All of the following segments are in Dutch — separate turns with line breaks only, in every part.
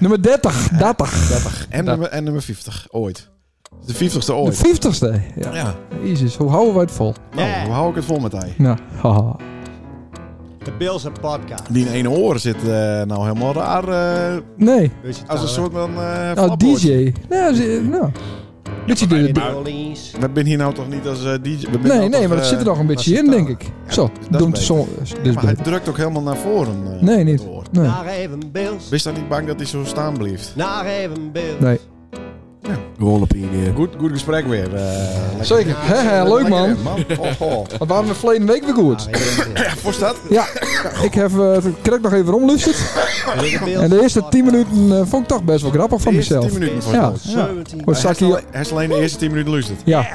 Nummer 30, 30.
30. En,
Dat-
nummer, en nummer 50, ooit. De 50ste
De
ooit.
50ste. Ja.
Ja,
Jezus, hoe houden wij het vol?
nou,
Ja.
hoe hou ik het vol met hij?
Nou, haha.
De Bills en podcast.
Die ene oor zit eh, nou helemaal raar. eh,
Nee,
Weet je het
als een
nou,
soort van eh
nou,
flapboordje.
DJ. Nou, ze- nou. Beetje de-
hè?
de-
New Orleans.
We zijn hier nou toch niet als eh, DJ? We zijn nou
Nee, nee,
toch,
maar dat
eh,
zit er nog een beetje in,
Rasitana.
denk ik. Zo,
dat is
doe hem
beter.
zo. Dit is
maar hij
beter.
drukt ook helemaal naar voren. eh,
Nee,
met
niet.
het oor.
Nee.
Naar even Bills.
Wees dan niet bang dat hij zo staan blijft.
Naar even Bills.
Nee.
Gewoon op in
eh.
hier.
Goed, goed gesprek weer. eh, lekker.
Zeker. Hè, hè, leuk,
Lekker,
man.
hè, Oh, oh.
Want we waren we verleden week weer goed.
Naar even Bills.
Ja, voor staat.
Ja, ik heb eh, het krek nog even omlusterd.
De Bills
En de eerste 10
podcast.
minuten eh, vond ik toch best wel grappig van
De eerste
mezelf.
10 minuten voor
Ja.
het
Ja.
17.
Wat zat hier?
Hij is alleen de eerste 10 minuten luistert.
Ja.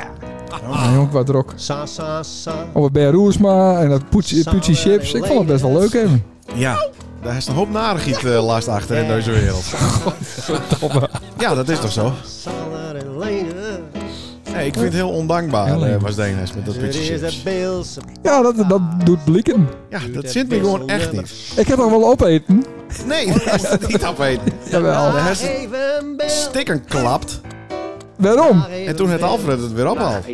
Nou, jong, wat er ook.
Sa, sa, sa.
Op het bij Roersma en dat poetsie poetsie chips. Ik vond het best wel leuk even.
Ja. Daar is een hoop narigheid eh, last achter in deze wereld. Ja, dat is toch zo?
Sander en Lene.
Nee, ik vind het heel ondankbaar, eh, was Denes met dat
Dit
putje
is de
chips.
Bills.
Ja, dat, dat doet blikken.
Ja, dat zit me gewoon echt niet.
Ik heb nog wel opeten.
Nee, dat is het niet afweten.
Jawel.
De
Naar
hersen-
even Bills.
Stikken klapt.
Waarom?
Naar even
En toen het
Bills.
Alfred het weer ophaalt.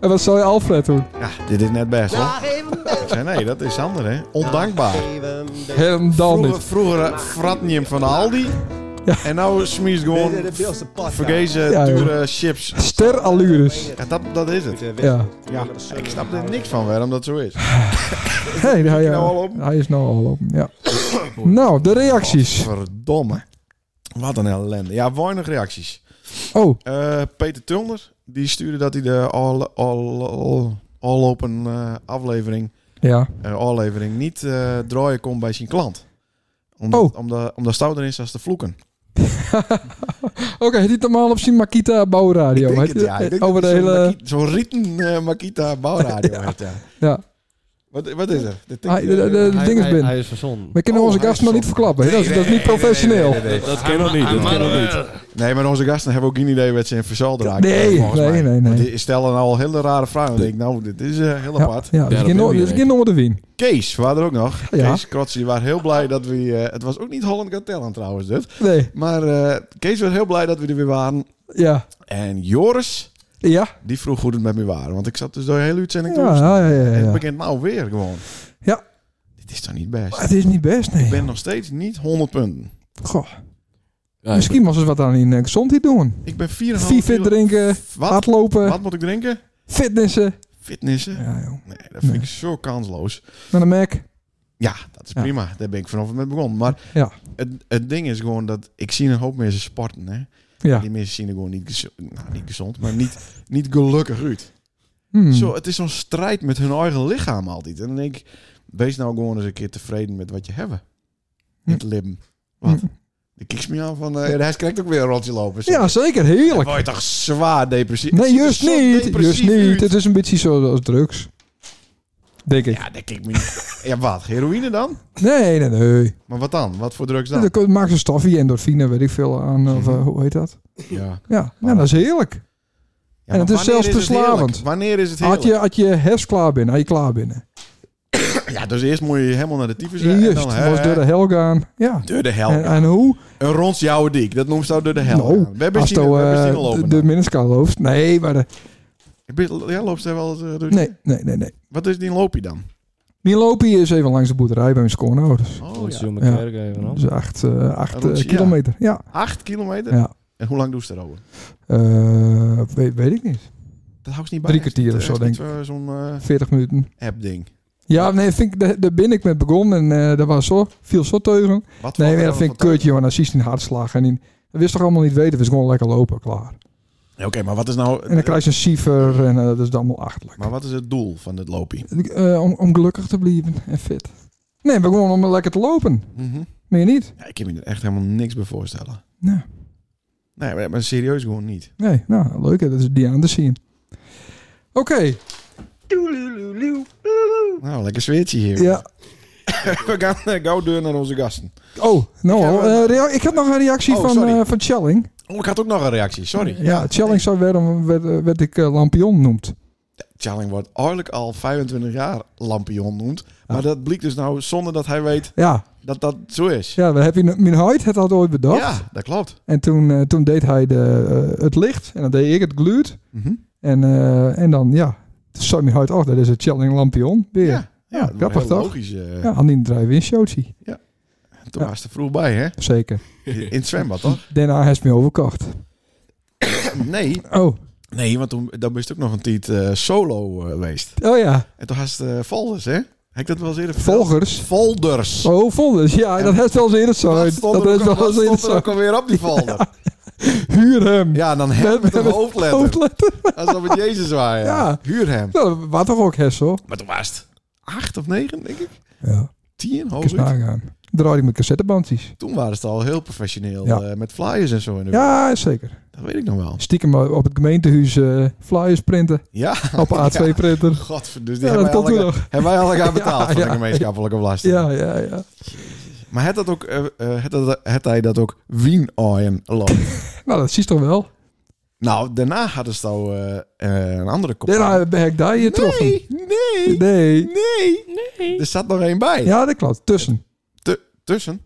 En wat zou je Alfred doen?
Ja, dit is net best hoor.
Naar even Bills.
Ik zei, nee, dat is Sander hè. Ondankbaar.
Even Bills.
Helemaal
Vroeger,
niet.
vroeger eh, frat je hem van de Aldi.
Ja.
En nou smiest
Dit is de
gewoon
Bills podcast.
vergezen
Ja, joh.
dure chips.
Ster allures.
Ja, dat, dat is het.
eh,
Ja.
Ja, ik snap er niks van waarom dat zo is.
Hey, hij,
nou al
eh,
open?
hij is nou al op. Ja. nou, de reacties.
Verdomme. Wat een ellende. Ja, weinig reacties.
Oh,
Eh, Peter Tulner, die stuurde dat hij de all, all, all, all open eh, aflevering,
ja.
eh, aflevering niet eh, draaien kon bij zijn klant. Omdat,
Oh.
omdat, omdat Stout erin zat te vloeken.
Oké, het is normaal op zijn Makita Bouwradio.
Ik denk
Het-
het, ja. Ik denk
eh, Over de
dat het zo'n
hele...
Maki- Zo'n rieten eh, Makita bouwradio. heet, ja.
Ja.
Wat, wat is er? De tik-
Ah, de- de- de-
Hij-
ding is
hij-
binnen.
Hij is verzonnen.
We kunnen
Oh,
onze
hij
gasten nog
is
niet verklappen. hè? dat, is,
Nee,
dat is niet
nee, nee,
professioneel.
nee, nee, nee, nee.
Dat ken nog niet. Dat ken nog niet.
Nee, maar onze gasten hebben ook geen idee wat ze in verzal raken.
Nee,
volgens
nee,
mij.
nee, nee.
Want die stellen nou al hele rare vragen. Dan denk ik, nou, dit is eh, heel
Ja,
apart.
ja, dus
dat
geen
wil
no-
je
dus
weten.
geen onder de wien.
Kees, waren er ook nog.
Ja.
Kees Krotz, die waren heel blij dat we... eh, het was ook niet Holland Got Talent trouwens, dit.
Nee,
Maar eh, Kees was heel blij dat we er weer waren.
ja.
En Joris,
Ja,
die vroeg hoe het met me waren. Want ik zat dus door de hele uitzending
ja,
te
ja, ja. ja,
En het
ja.
begint nou weer gewoon.
Ja.
Dit is toch niet best?
Maar Het is niet best,
Ik
nee.
ben nog steeds niet 100 punten.
Goh, misschien moesten ze wat aan die eh, gezondheid doen.
Ik ben 4,5
FIFA
kilo-
drinken,
Wat?
hardlopen,
Wat moet ik drinken?
fitnessen.
Fitnessen?
Ja, joh.
Nee, dat vind
Nee.
ik zo kansloos.
Naar de Mac.
Ja, dat is
Ja.
prima. Daar ben ik vanaf het begin. begonnen. Maar
Ja.
het, het ding is gewoon dat ik zie een hoop mensen sporten. Hè.
Ja.
Die mensen zien er gewoon niet, gezo- nou, niet gezond, maar niet, niet gelukkig uit.
Hmm.
Zo, het is zo'n strijd met hun eigen lichaam altijd. En dan denk ik, wees nou gewoon eens een keer tevreden met wat je hebben.
Hm.
Het lim. Wat?
Hm.
De kiks me aan van... eh de rest krijgt ook weer een rotje lopen.
Ja, zeker.
Dan
Heerlijk.
word je toch zwaar depressief. Het
Nee,
ziet er
juist
zo
niet.
depressief
Juist niet.
uit.
Het is een beetje zo als drugs. Denk ik.
Ja, dat kijk me niet. Ja, wat? Heroïne dan?
Nee, nee, nee.
Maar wat dan? Wat voor drugs dan?
Dan maakt ze stoffie, endorfine, weet ik veel aan. Of eh, hoe heet dat?
Mhm. Ja.
Ja,
Maar-
nou, dat is heerlijk.
Ja,
En
maar
het is
wanneer
zelfs
heerlijk?
verslavend.
Wanneer is het
Had
heerlijk?
je, had je herfst klaar binnen, had je klaar binnen.
Ja, dus eerst moet je helemaal naar de tyfus en
Juist,
dan,
was
hè,
door de hel gaan. Ja.
door de hel.
En, en hoe?
Een rond jouwe dik, dat noemt ze door de hel.
Nou,
we hebben
Als
zien,
je
we hebben zien
eh,
lopen.
de,
dan.
de miniscaal loopt. Nee, maar de,
Ik ben- ja, loopt zij wel eens, eh, door die-
nee, nee, nee, nee.
Wat is die loopje dan?
Die lopen hier eens even langs de boerderij bij mijn schoonouders.
Oh, ja.
Zo'n
Ja.
kerk even op.
Dus acht, eh, acht eh,
rondje, ja.
kilometer. Ja.
Acht kilometer?
ja.
En hoe lang doe ze daarover?
Eh, weet, weet ik niet.
Dat houdt niet bij.
Drie kwartier of zo, denk ik.
ik. Zo'n eh,
40 minuten.
app-ding.
Ja, nee, vind ik, daar, daar ben ik met begonnen. En eh dat was zo, viel zo teugen.
Wat
Nee,
valt
maar
er
dat
dan
vind ik
van
kut, joh. En dan zie je een hartslag. En in, dat wist toch allemaal niet weten. We is gewoon lekker lopen, klaar.
te- Oké, maar wat is nou...
En dan krijg je een siever en eh, dat is dan allemaal achterlijk.
Maar wat is het doel van dit loopje?
Eh, om, om gelukkig te blijven en fit. Nee, maar gewoon om lekker te lopen. Meer niet.
ja, ik kan me er echt helemaal niks bij voorstellen.
Nee,
Nee, maar, maar serieus gewoon niet.
nee nou, leuk. hè, Dat is die aan te zien. Oké,
Nou, lekker zweertje hier.
ja.
We gaan eh, gauw deur naar onze gasten.
Oh, nou,
Ik heb
al,
een-
eh, rea- ik heb nog een reactie
Oh,
van,
sorry.
eh van Chelling.
Oh, ik had ook nog een reactie, sorry.
Ja, Chelling zou werden, werd, werd ik eh, lampion noemd.
Challing wordt eigenlijk al 25 jaar lampion noemd.
Ah.
Maar dat blijkt dus nou zonder dat hij weet
Ja,
dat dat zo is.
ja we hebben in- mijn huid het had ooit bedacht.
Ja, dat klopt.
En toen, eh, toen deed hij de, eh, het licht en dan deed ik het gluurt.
Mhm.
En, eh, en dan, ja, toen zei mijn huid, oh, dat is het Challing Lampion weer. Ja,
Ja, ja, dat
grappig
heel
toch?
logisch. eh.
aan die draai weer een showtje.
Toen
Ja.
was het er vroeg bij, hè?
Zeker.
In het zwembad, toch?
Daarna heeft hij me overkocht.
Nee,
Oh,
nee want toen dan ben je ook nog een tijd eh, solo eh, geweest.
oh ja,
En toen had het eh, folders, hè? Heb ik dat wel eens eerder verteld?
volgers.
Folders.
Oh, volgers. Ja,
En-
dat heeft wel eens eerder zo.
Wat
Dat
stond er,
heeft
ook,
wel
wat
eens
stond
eerder
er
zo.
ook alweer op die folder? Ja,
Huur hem.
dan hem met een
Met-
hoofdletter.
Hoofdletter.
Alsof het Jezus was.
Ja.
Huur hem.
Nou, dat was toch ook Hessel?
Maar toen was het acht of negen, denk ik.
Ja,
Tien,
ik eens
hooguit.
nagaan. Draaide ik met cassettebandjes.
Toen waren ze al heel professioneel
Ja.
eh, met flyers en zo. In de
Ja, zeker.
Dat weet ik nog wel.
Stiekem op het gemeentehuis eh, flyers printen.
Ja.
Op A2-printer.
Godver, dus die
Ja, dat
hebben,
komt
wij
toen
allemaal,
nog.
hebben wij allemaal
Ja,
betaald voor de
ja.
gemeenschappelijke belasting.
Ja, ja, ja.
Maar het dat ook, eh eh, het dat, het hij dat ook Wien ooien loopt.
Nou, dat zie je toch wel.
nou, daarna hadden ze al eh, eh, een andere kop.
Daarna ben ik daar je troffen.
nee, nee,
Nee.
nee, Er zat nog één bij.
Ja, dat klopt. Tussen.
Tu- tussen?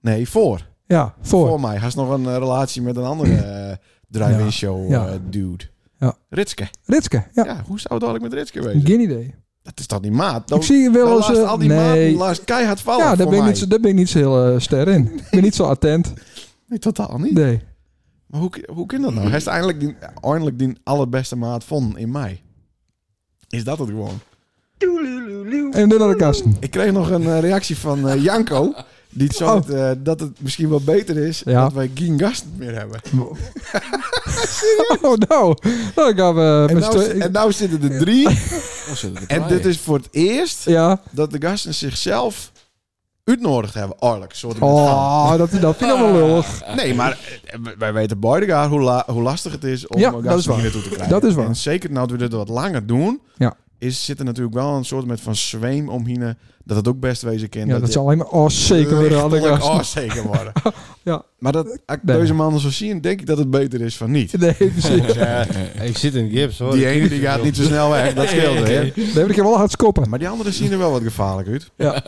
Nee, voor.
Ja,
Voor,
voor.
mij. Hij is nog een eh, relatie met een andere eh, drive-in
Ja,
show
ja.
eh, dude.
Ja.
Ritske.
Ritske. Ja,
Ja. hoe zou het eigenlijk met Ritske wezen?
geen idee.
Dat is toch niet maat? Dan,
Ik zie je
dan
wel eens...
laat
eh,
al die
nee.
maat laat keihard vallen
Ja, daar
voor
ben, ik
mij.
niet, zo- daar ben ik niet zo heel eh, ster in. Ik ben niet zo attent.
Nee, totaal niet.
Nee.
Maar hoe, hoe kan dat nou? Hij is eindelijk die, eindelijk die allerbeste maat van in mei. Is dat het gewoon?
En door naar de kasten.
Ik kreeg nog een eh, reactie van eh, Janko. Die het zo
Oh.
eh, dat het misschien wel beter is
Ja.
dat wij geen gast meer hebben.
Oh, nou. Nou, dan gaan we...
En
met
nou,
z'n-
zi- en nou zitten er drie. En dit is voor het eerst
Ja.
dat de gasten zichzelf uitnodigd hebben. Oorlijk, soort van.
Oh, dat, dat vind ik allemaal lullig.
Nee, maar eh, wij weten beide elkaar hoe, la- hoe lastig het is om
Ja,
een
dat is
gasten
waar.
hier naartoe te krijgen.
Dat is waar.
En zeker nou dat we dit wat langer doen,
Ja.
is, zit er natuurlijk wel een soort met van zweem omheen eh, dat het ook best wezen kan.
Ja, dat
dit
zal alleen maar... Oh, zeker weer aan de
lichtelijk
kasten.
onzeker worden.
Ja.
Maar dat, als ik
Nee.
deze mannen zo zien, denk ik dat het beter is van niet.
Nee, precies.
Dus, eh,
Ik zit in gips hoor.
die ene die gaat niet zo snel weg, dat scheelt weer.
Daar heb ik je wel hard skoppen.
Maar die anderen zien er wel wat gevaarlijk uit.
Ja.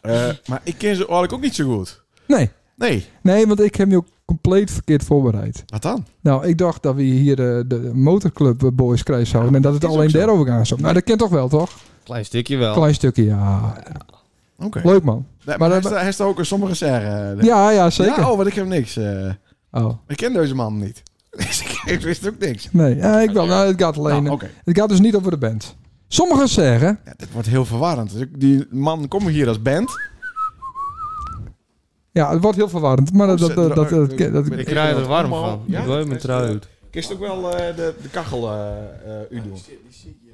Eh, maar ik ken ze eigenlijk ook niet zo goed.
Nee.
Nee,
Nee, want ik heb me ook compleet verkeerd voorbereid.
wat dan?
Nou, ik dacht dat we hier eh, de motorclub eh, boys krijgen zouden. en dat het
is ook
alleen
zo.
daarover gaat. zo. Nou, dat kent toch wel, toch?
Klein stukje wel.
Klein stukje, ja.
Oké.
Leuk, man. Maar
Nee, maar
dan-
hij is- hij is er ook sommige eh, zeggen.
Ja, ja, zeker.
Ja, oh, want ik heb niks. eh,
Oh,
ik ken deze man niet. Dus ik, ik wist ook niks.
nee. Ja, ik wel. Nou, het gaat alleen...
Nou, Oké,
Het gaat dus niet over de band. Sommigen zeggen...
ja, dit wordt heel verwarrend. Dus ik- Die man komt hier als band.
Ja, het wordt heel verwarrend. Maar dat...
Oh,
dat, dat, dat, dat,
eh,
dat-
eh,
Ik krijg er warm
Allemaal-
van.
Ja?
Ik gooi mijn trui uit.
Kist ook wel eh, de, de kachel eh, eh, u doen.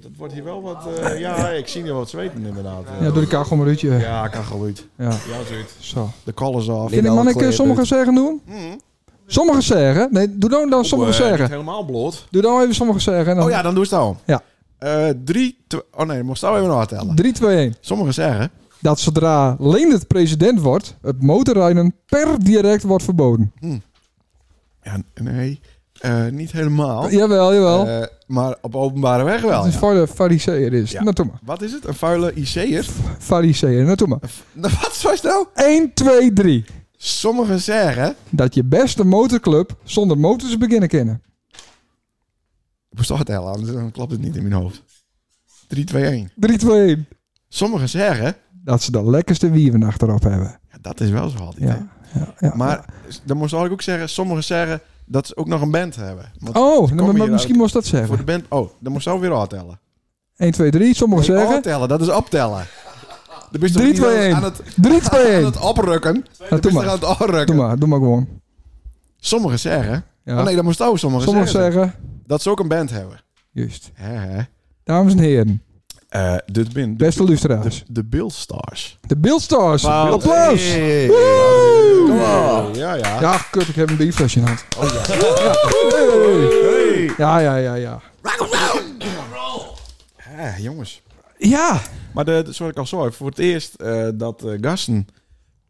Dat wordt hier wel wat... eh, ja, ik zie hier wat zweten inderdaad.
ja, door de kachel maar uitje. Ja.
Ja, kachel uit.
Zo.
De collars af.
Kan ik, man, ik eh, sommigen zeggen doen? Sommigen zeggen... Nee, doe nou dan, dan sommigen zeggen.
helemaal bloot.
Doe dan even sommigen zeggen. en Dan,
eh, Oh ja, dan doe ze het al.
Ja.
Eh, drie... tw- Oh nee, moest nou even nog tellen.
3, 2, 1.
Sommigen zeggen...
dat zodra Leendert president wordt, het motorrijden per direct wordt verboden.
Ja, nee, eh, niet helemaal.
Jawel, jawel.
Eh, maar op openbare weg wel.
het is
ja.
voor de fariseer is.
Ja.
Naartoe maar.
Wat is het? Een vuile IC'er?
Fariseer, naartoe maar.
Een v- Nou, Wat was nou?
1, 2, 3.
Sommigen zeggen...
Dat je beste motorclub zonder motors beginnen kennen.
Ik moest toch het tellen, anders dus dan klopt het niet in mijn hoofd. 3, 2, 1.
3, 2, 1.
Sommigen zeggen...
Dat ze de lekkerste wieven achterop hebben.
Ja, dat is wel zo altijd. hè.
Ja. ja, ja.
Maar dan moest ik ook zeggen... Sommigen zeggen dat ze ook nog een band hebben. Want
Oh, nou, maar
hier
misschien moest dat
voor de
zeggen.
band... Oh, dan moest ik weer aftellen.
1, 2, 3. Sommigen
Nee,
zeggen.
aftellen, dat is optellen. Dan ben je toch
3,
niet
2, 1.
aan het,
3, 2,
aan
1.
het oprukken. Dan ben
doe
je toch aan
maar.
het oprukken.
Doe maar, doe maar gewoon.
Sommigen zeggen...
Ja.
Oh nee, dat moest ook sommigen,
Sommigen
zeggen.
zeggen.
Dat ze ook een band hebben.
Juist.
Hè, hè.
Dames en heren,
Eh, dit bin. De,
beste luisteraars.
de, de Bill Stars.
De Beeldstars. Applaus.
Hey.
Woe!
Ja, ja. Oh,
Ja, kut, ik heb een bierflesje in de hand. Ja, ja, ja, ja.
Eh, jongens.
Ja,
Maar de, de- zoals ik al zei, voor het eerst eh, dat eh gasten,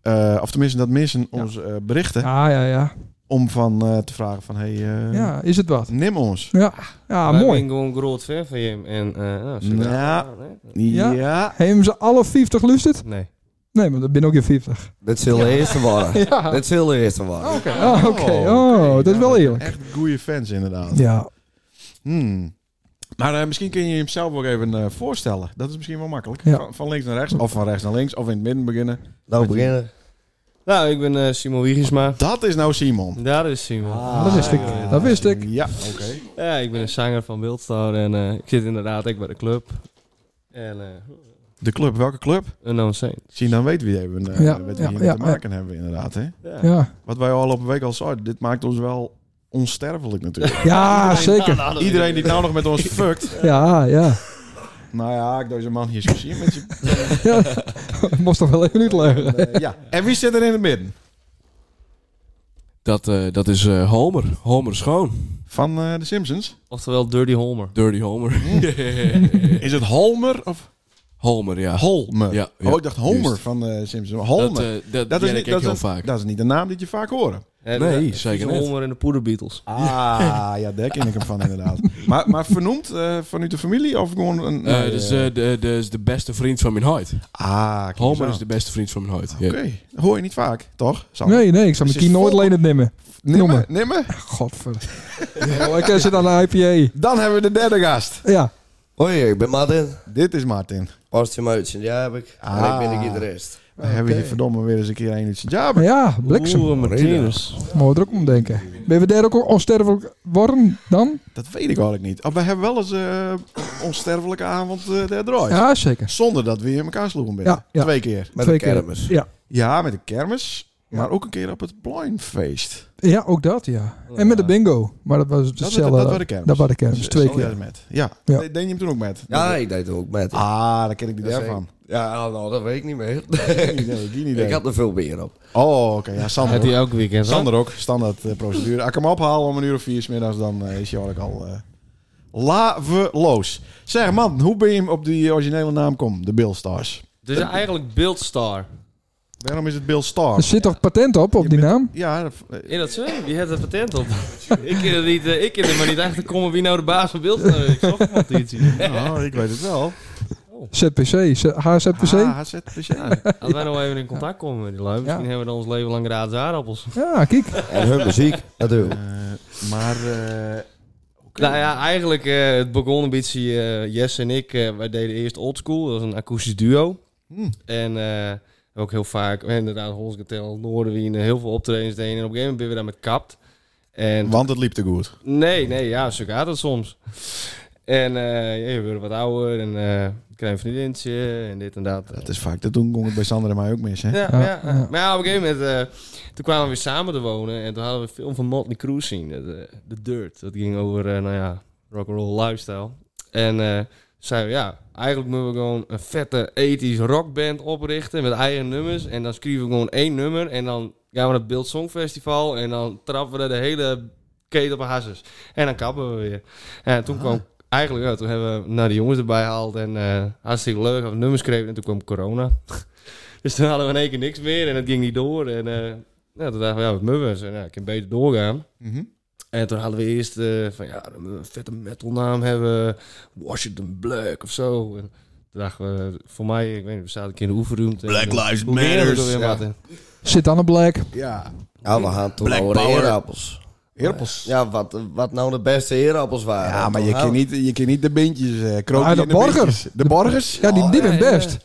eh, of tenminste dat mensen ons eh, berichten,
ja, ja, ja.
om van eh, te vragen van, hey, eh,
Ja, is het wat?
neem ons.
Ja,
Wij
Ah, mooi.
zijn gewoon groot fan van hem. En, eh nou, ze-
Ja.
nee.
Ja.
Ja.
Hebben ze alle 50 lusterd?
Nee.
Nee, maar dat ben ook je 50.
Dat zal de eerste waren.
Ja.
Dat zal de eerste waren.
Oké, oh, oké. Oh, dat is wel eerlijk.
Echt goede fans inderdaad.
Ja,
Hmm. Maar eh, misschien kun je hem zelf ook even eh, voorstellen. Dat is misschien wel makkelijk.
Ja.
Van, van links naar rechts, of van rechts naar links, of in het midden beginnen.
Nou, beginnen.
Nou, ik ben eh Simon Wiegersma.
Dat is nou Simon. Ah,
Daar is Simon.
dat wist ik. Dat wist ik.
Ja, oké.
Ja, ik ben een zanger van Wildstone en eh, ik zit inderdaad ook bij de club. En eh
De club, welke club?
Unknown Saints.
Zien, dan weten we wie hebben, eh,
Ja,
met
ja,
wie we
ja,
te maken hebben inderdaad. Hè?
Ja.
Ja,
Wat wij al op een week al zeiden, dit maakt ons wel onsterfelijk natuurlijk.
ja Ah, zeker.
Iedereen die nou nog met ons fuckt.
Ja, ja.
Nou ja, ik deze man hier eens gezien met je.
ja. Moest toch wel even uitleggen.
Eh, ja. En wie zit er in het midden?
Dat, eh, dat is eh, Homer. Homer Schoon.
Van eh de Simpsons?
Oftewel Dirty Holmer.
Dirty Homer.
Is het Holmer of
Homer, ja.
Holmer?
Ja, ja.
Oh, ik dacht Homer
Juist.
van de Simpsons. Homer.
Dat, eh, dat, dat is ik heel
een,
vaak.
dat is niet de naam die je vaak hoort.
En,
Nee,
eh,
zeker
Dirty
net.
Holmer en de Poeder Beatles.
Ah, ja, daar ken ik hem van inderdaad. Maar, maar vernoemd eh, vanuit de familie of gewoon een...
Eh, dat is, eh, de, de, is de beste vriend van mijn huid.
ah, kijk
Homer
eens
is
aan.
de beste vriend van mijn huid. Ja.
Oké, dat hoor je niet vaak, toch? Sam?
Nee, nee, ik zou mijn
Is
kind
het
nooit
vol-
alleen het nemen.
Nimmer,
noemen.
nimmer.
Godver. Oh, ik zit aan de IPA.
Dan hebben we de derde gast.
Ja,
Hoi, ik ben Martin.
Dit is Martin.
Artje Muitje, ja heb ik. En ik ben
Ah.
de gitarist.
We hebben hier verdomme weer eens een keer een uit zijn
maar
Jabber.
Ah, ja, bliksem.
Oeh, Martinez.
Mooi er ook om denken. Ben we daar ook onsterfelijk worden dan?
Dat weet ik eigenlijk niet. Oh, we hebben wel eens eh onsterfelijke avond eh daar draait.
Ja, zeker.
Zonder dat we in elkaar sloegen binnen.
Ja, ja.
Twee keer.
Met
Twee
de
keer.
kermis.
Ja.
Ja, met de kermis. Maar ook een keer op het blindfeest.
Ja, ook dat, ja. En met de bingo. Maar dat was
Dat,
hetzelfde.
dat, dat was de kermis.
Dat was de kermis, twee
Zal jij
keer.
er Met. Ja.
Ja.
De- Deed je hem toen ook met?
Ja, ik deed er ook met.
Ah, daar ken ik die
Dat is
daarvan.
Ja, nou, dat weet ik niet meer.
Die idee, die idee.
ik had er veel bier op.
Oh, oké. Ja,
Had
Sander ook.
hij elk weekend. hè?
Sander ook. Standaard eh, procedure. Als ik hem ophaal om een uur of vier 's middags, dan eh, is hij eigenlijk al eh, laveloos. Zeg, man, hoe ben je hem op die originele naam kom? De Bill Stars.
Dus eigenlijk Beeldstar.
Waarom is het Bill Star?
Er zit toch patent op, op die naam?
Ja, dat- eh,
In dat zwem, die heeft het patent op. ik ken er niet, eh, ik ken er maar niet achter komen wie nou de baas van Beeldstar is. Ik zocht iemand die het ziet.
nou, ik weet het wel.
ZPC, Z- HZPC?
Ah, zet dus ja.
Als wij nou even in contact komen met die lui, misschien
Ja.
hebben we dan ons leven lang raadse aardappels.
Ja, kijk.
En hun muziek, natuurlijk.
Eh, maar... eh, oké.
Nou ja, eigenlijk eh, het begon een beetje, eh, Jess en ik, eh, wij deden eerst oldschool, dat was een akoestisch duo.
Hm.
En eh, ook heel vaak, eh, inderdaad, Holsgetel, Noorderwien, eh, heel veel optredens deden. En op een gegeven moment ben we daarmee kapt. En
Want het liep te goed.
Nee, nee, ja, zo gaat het soms. En eh, ja, je wordt wat ouder en eh ik krijg een vriendinnetje en dit en dat.
Dat is vaak. Dat doen kon het bij Sander en mij ook mis, hè?
Ja,
Ja,
ja,
ja.
Maar ja, op een gegeven moment, eh, toen kwamen we weer samen te wonen en toen hadden we een film van Motley Crue zien, de, de Dirt. Dat ging over, eh, nou ja, rock'n'roll lifestyle. En eh zeiden we, ja, eigenlijk moeten we gewoon een vette ethisch rockband oprichten met eigen nummers. En dan schrijven we gewoon één nummer en dan gaan we naar het Beeld Songfestival en dan trappen we de hele keten op hasses. En dan kappen we weer. En toen kwam eigenlijk, ja, toen hebben we naar de jongens erbij gehaald en eh hartstikke leuk, hebben we nummers geschreven en toen kwam corona. Dus toen hadden we in één keer niks meer en het ging niet door. En eh, ja, toen dachten we, ja, wat mubbers. En ja, ik kan beter doorgaan.
Mhm.
En toen hadden we eerst eh, van, ja, dan moeten we een vette metalnaam hebben. Washington Black of zo. En toen dachten we, voor mij, ik weet niet, we zaten een keer in de oefenruimte.
Black
En, eh,
Lives
hoe heerlijk
Matters.
ook weer,
Ja.
Martin.
Zit aan de black.
Ja.
Ja, Ah, we gaan toen
Black
over de
Power.
eerappels.
Herpels.
Ja, wat, wat nou de beste eerappels waren.
Ja, maar je
Toen
kan niet, je kan niet de bindjes eh kroken.
Ah, de
in
borger.
bindjes. De borgers?
Ja, die, die
Oh,
bent
ja, ja.
best.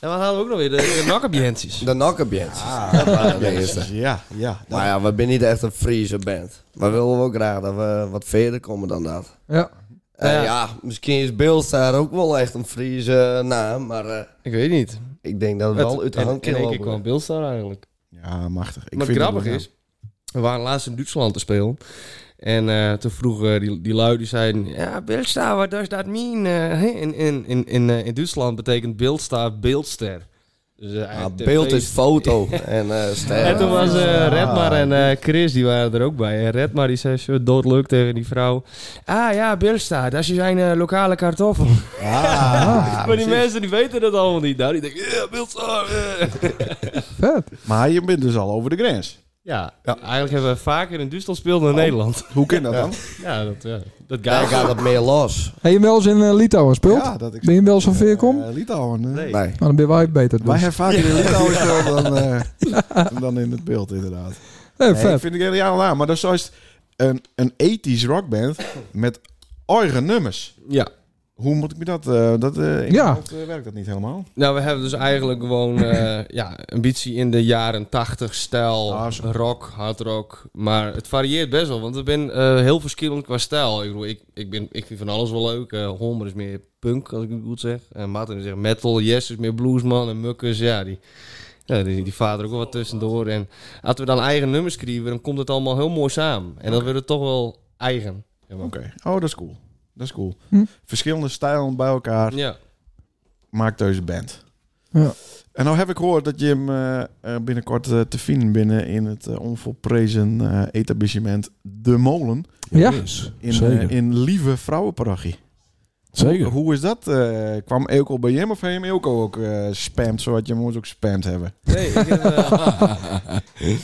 En wat hadden we ook nog weer? De, de nakkenbandjes.
De Nokkenbjens. dat waren de eerste.
Ja, ja.
Maar ja, we zijn niet echt een Friese band. Maar willen we ook graag dat we wat verder komen dan dat.
Ja.
Eh,
Ja.
ja. misschien is Beelstaar ook wel echt een Friese naam, maar eh,
Ik weet niet.
ik denk dat het wel uit de hand
in
kan
één keer kwam
lopen.
Bilstar eigenlijk.
Ja, machtig. Ik
Maar het
vind
grappig
het-
is, we waren laatst in Duitsland te spelen. En eh, toen vroegen die, die lui, die zeiden... Ja, Bildstar, wat does dat mean? Eh, in, in, in, in, eh, in Duitsland betekent Bildstar beeldster. Dus, eh,
Ja,
eigenlijk de
beeld is
feest-
foto en eh ster.
En toen was eh, Redmar en eh, Chris, die waren er ook bij. En Redmar die zei zo doodleuk tegen die vrouw... Ah ja, Bildstar, dat is zijn eh, lokale kartoffel.
Ah,
maar die
precies.
mensen die weten dat allemaal niet. Nou, die denken... Ja, Bildstar. eh."
Vet.
Maar je bent dus al over de grens.
Ja, Oh.
Ja.
eigenlijk hebben we vaker in Duitsland gespeeld dan in Nederland.
Hoe kan dat dan?
Ja, dat, ja, dat
Daar
gaat.
gaat het meer los.
Heb je wel eens in eh, Litouwen gespeeld?
Ja, dat ik...
Ben je wel eens van Veerkom?
Eh, Litouwen. eh.
Nee.
Nee.
Maar dan ben wij beter. Dus.
Wij hebben vaker in Litouwen gespeeld dan, eh, dan in het beeld, inderdaad.
Eh,
Nee, ik
vet.
vind het helemaal aan. Maar dat is juist een, een ethisch rockband met eigen nummers.
Ja.
Hoe moet ik me dat... eh, dat eh, in
Ja.
Nederland, eh, werkt dat niet helemaal.
Nou, we hebben dus eigenlijk gewoon eh, ja, een beetje in de jaren 80 stijl,
Ah, zo.
rock, hard rock. Maar het varieert best wel, want ik ben eh, heel verschillend qua stijl. Ik, bedoel, ik, ik, ben, ik vind van alles wel leuk. Eh, Homer is meer punk, als ik het goed zeg. En Martin is echt metal, Jess is meer bluesman en Mukkers, ja, die... Ja, die, die vader ook wel wat tussendoor. En als we dan eigen nummers schrijven, dan komt het allemaal heel mooi samen. En dan wordt het toch wel eigen. Ja, maar-
Oké. Oh, dat is cool. Dat is cool.
Hm.
Verschillende stijlen bij elkaar.
Ja.
Maakt deze band.
Ja.
En nou heb ik gehoord dat je hem eh, eh, binnenkort eh, te vinden binnen in het eh, onvolprezen eh, etablissement De Molen.
Ja.
yes.
In,
Zeker.
eh, in Lieve Vrouwenparochie.
Zeker.
Hoe is dat? eh, kwam Eelco bij hem of heeft hem Eelco ook eh spamd, zodat je hem ons ook spamd hebben?
Nee, ik, heb, eh,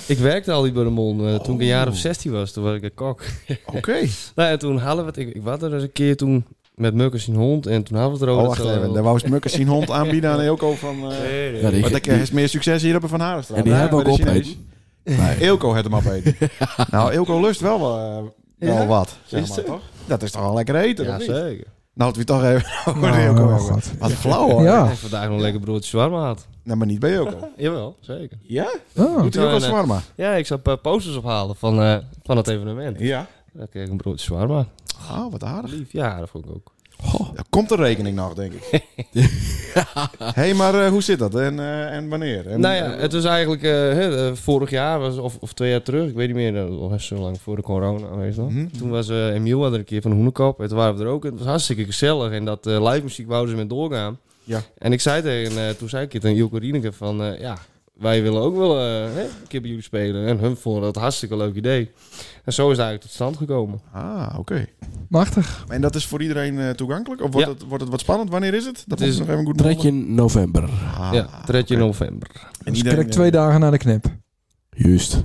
ik werkte al die bij de Mon eh, toen ik een jaar of
Oh.
16 was. Toen was ik een kok.
Oké.
nou, en toen hadden we het. Ik, ik was er eens een keer toen met Mukkers in hond. En toen hadden we het
Oh,
erover.
wacht
dat ze-
even. Daar wou Smukkers zien hond aanbieden aan Eelco van... eh
Nee, nee.
Ja, die,
want
die,
ik heb meer succes hier op de Van Harenstraat.
en die
Ja,
hebben we
bij
ook
de Chinees.
opeten. Nee.
Eelco had hem opeten. nou, Eelco lust wel, eh, wel
Ja?
wat,
Is
zeg maar,
het?
toch? Dat is toch wel lekker eten,
Ja,
of niet?
zeker.
Nou, het we toch even over
Nou,
Eelco
oh,
hebben.
God.
Wat flauw, hoor.
Ik
Ja.
heb vandaag nog een lekker broodje shawarma had.
Nou, maar niet bij Eelco.
Jawel, zeker.
Ja?
Ah,
Doet hij ook
Ja,
wel
nee.
zwarma?
Ja, ik zou een paar posters ophalen van, eh, van het evenement.
Ja.
Dan kreeg ik een broodje shawarma.
Oh, wat aardig.
Lief, ja, dat vond ik ook.
Daar komt de rekening nog, denk ik. Hé, hey, maar eh, hoe zit dat? En, eh, en wanneer? En,
nou ja, het was eigenlijk eh, hè, eh, vorig jaar was, of, of twee jaar terug, ik weet niet meer, dat was al zo lang voor de corona, weet je wel.
Mhm.
Toen was eh Emiel er een keer van Hoenekop en toen waren we er ook. Het was hartstikke gezellig en dat eh live muziek wouden ze met doorgaan.
Ja.
En ik zei tegen, eh, toen zei ik het tegen Ilko Rieneke van, eh, ja, wij willen ook wel eh, hè, een keer bij jullie spelen. En hun vonden dat een hartstikke leuk idee. En zo is het eigenlijk tot stand gekomen.
Ah, oké.
machtig.
En dat is voor iedereen eh, toegankelijk? Of wordt,
Ja.
het, wordt het wat spannend? Wanneer is het? Dat
Het
is
is
nog even goed
Trekje in november.
Ah,
ja, het redt je
oké.
in november.
En
Dus
iedereen,
krijg ik twee
eh,
dagen naar de knip.
Juist.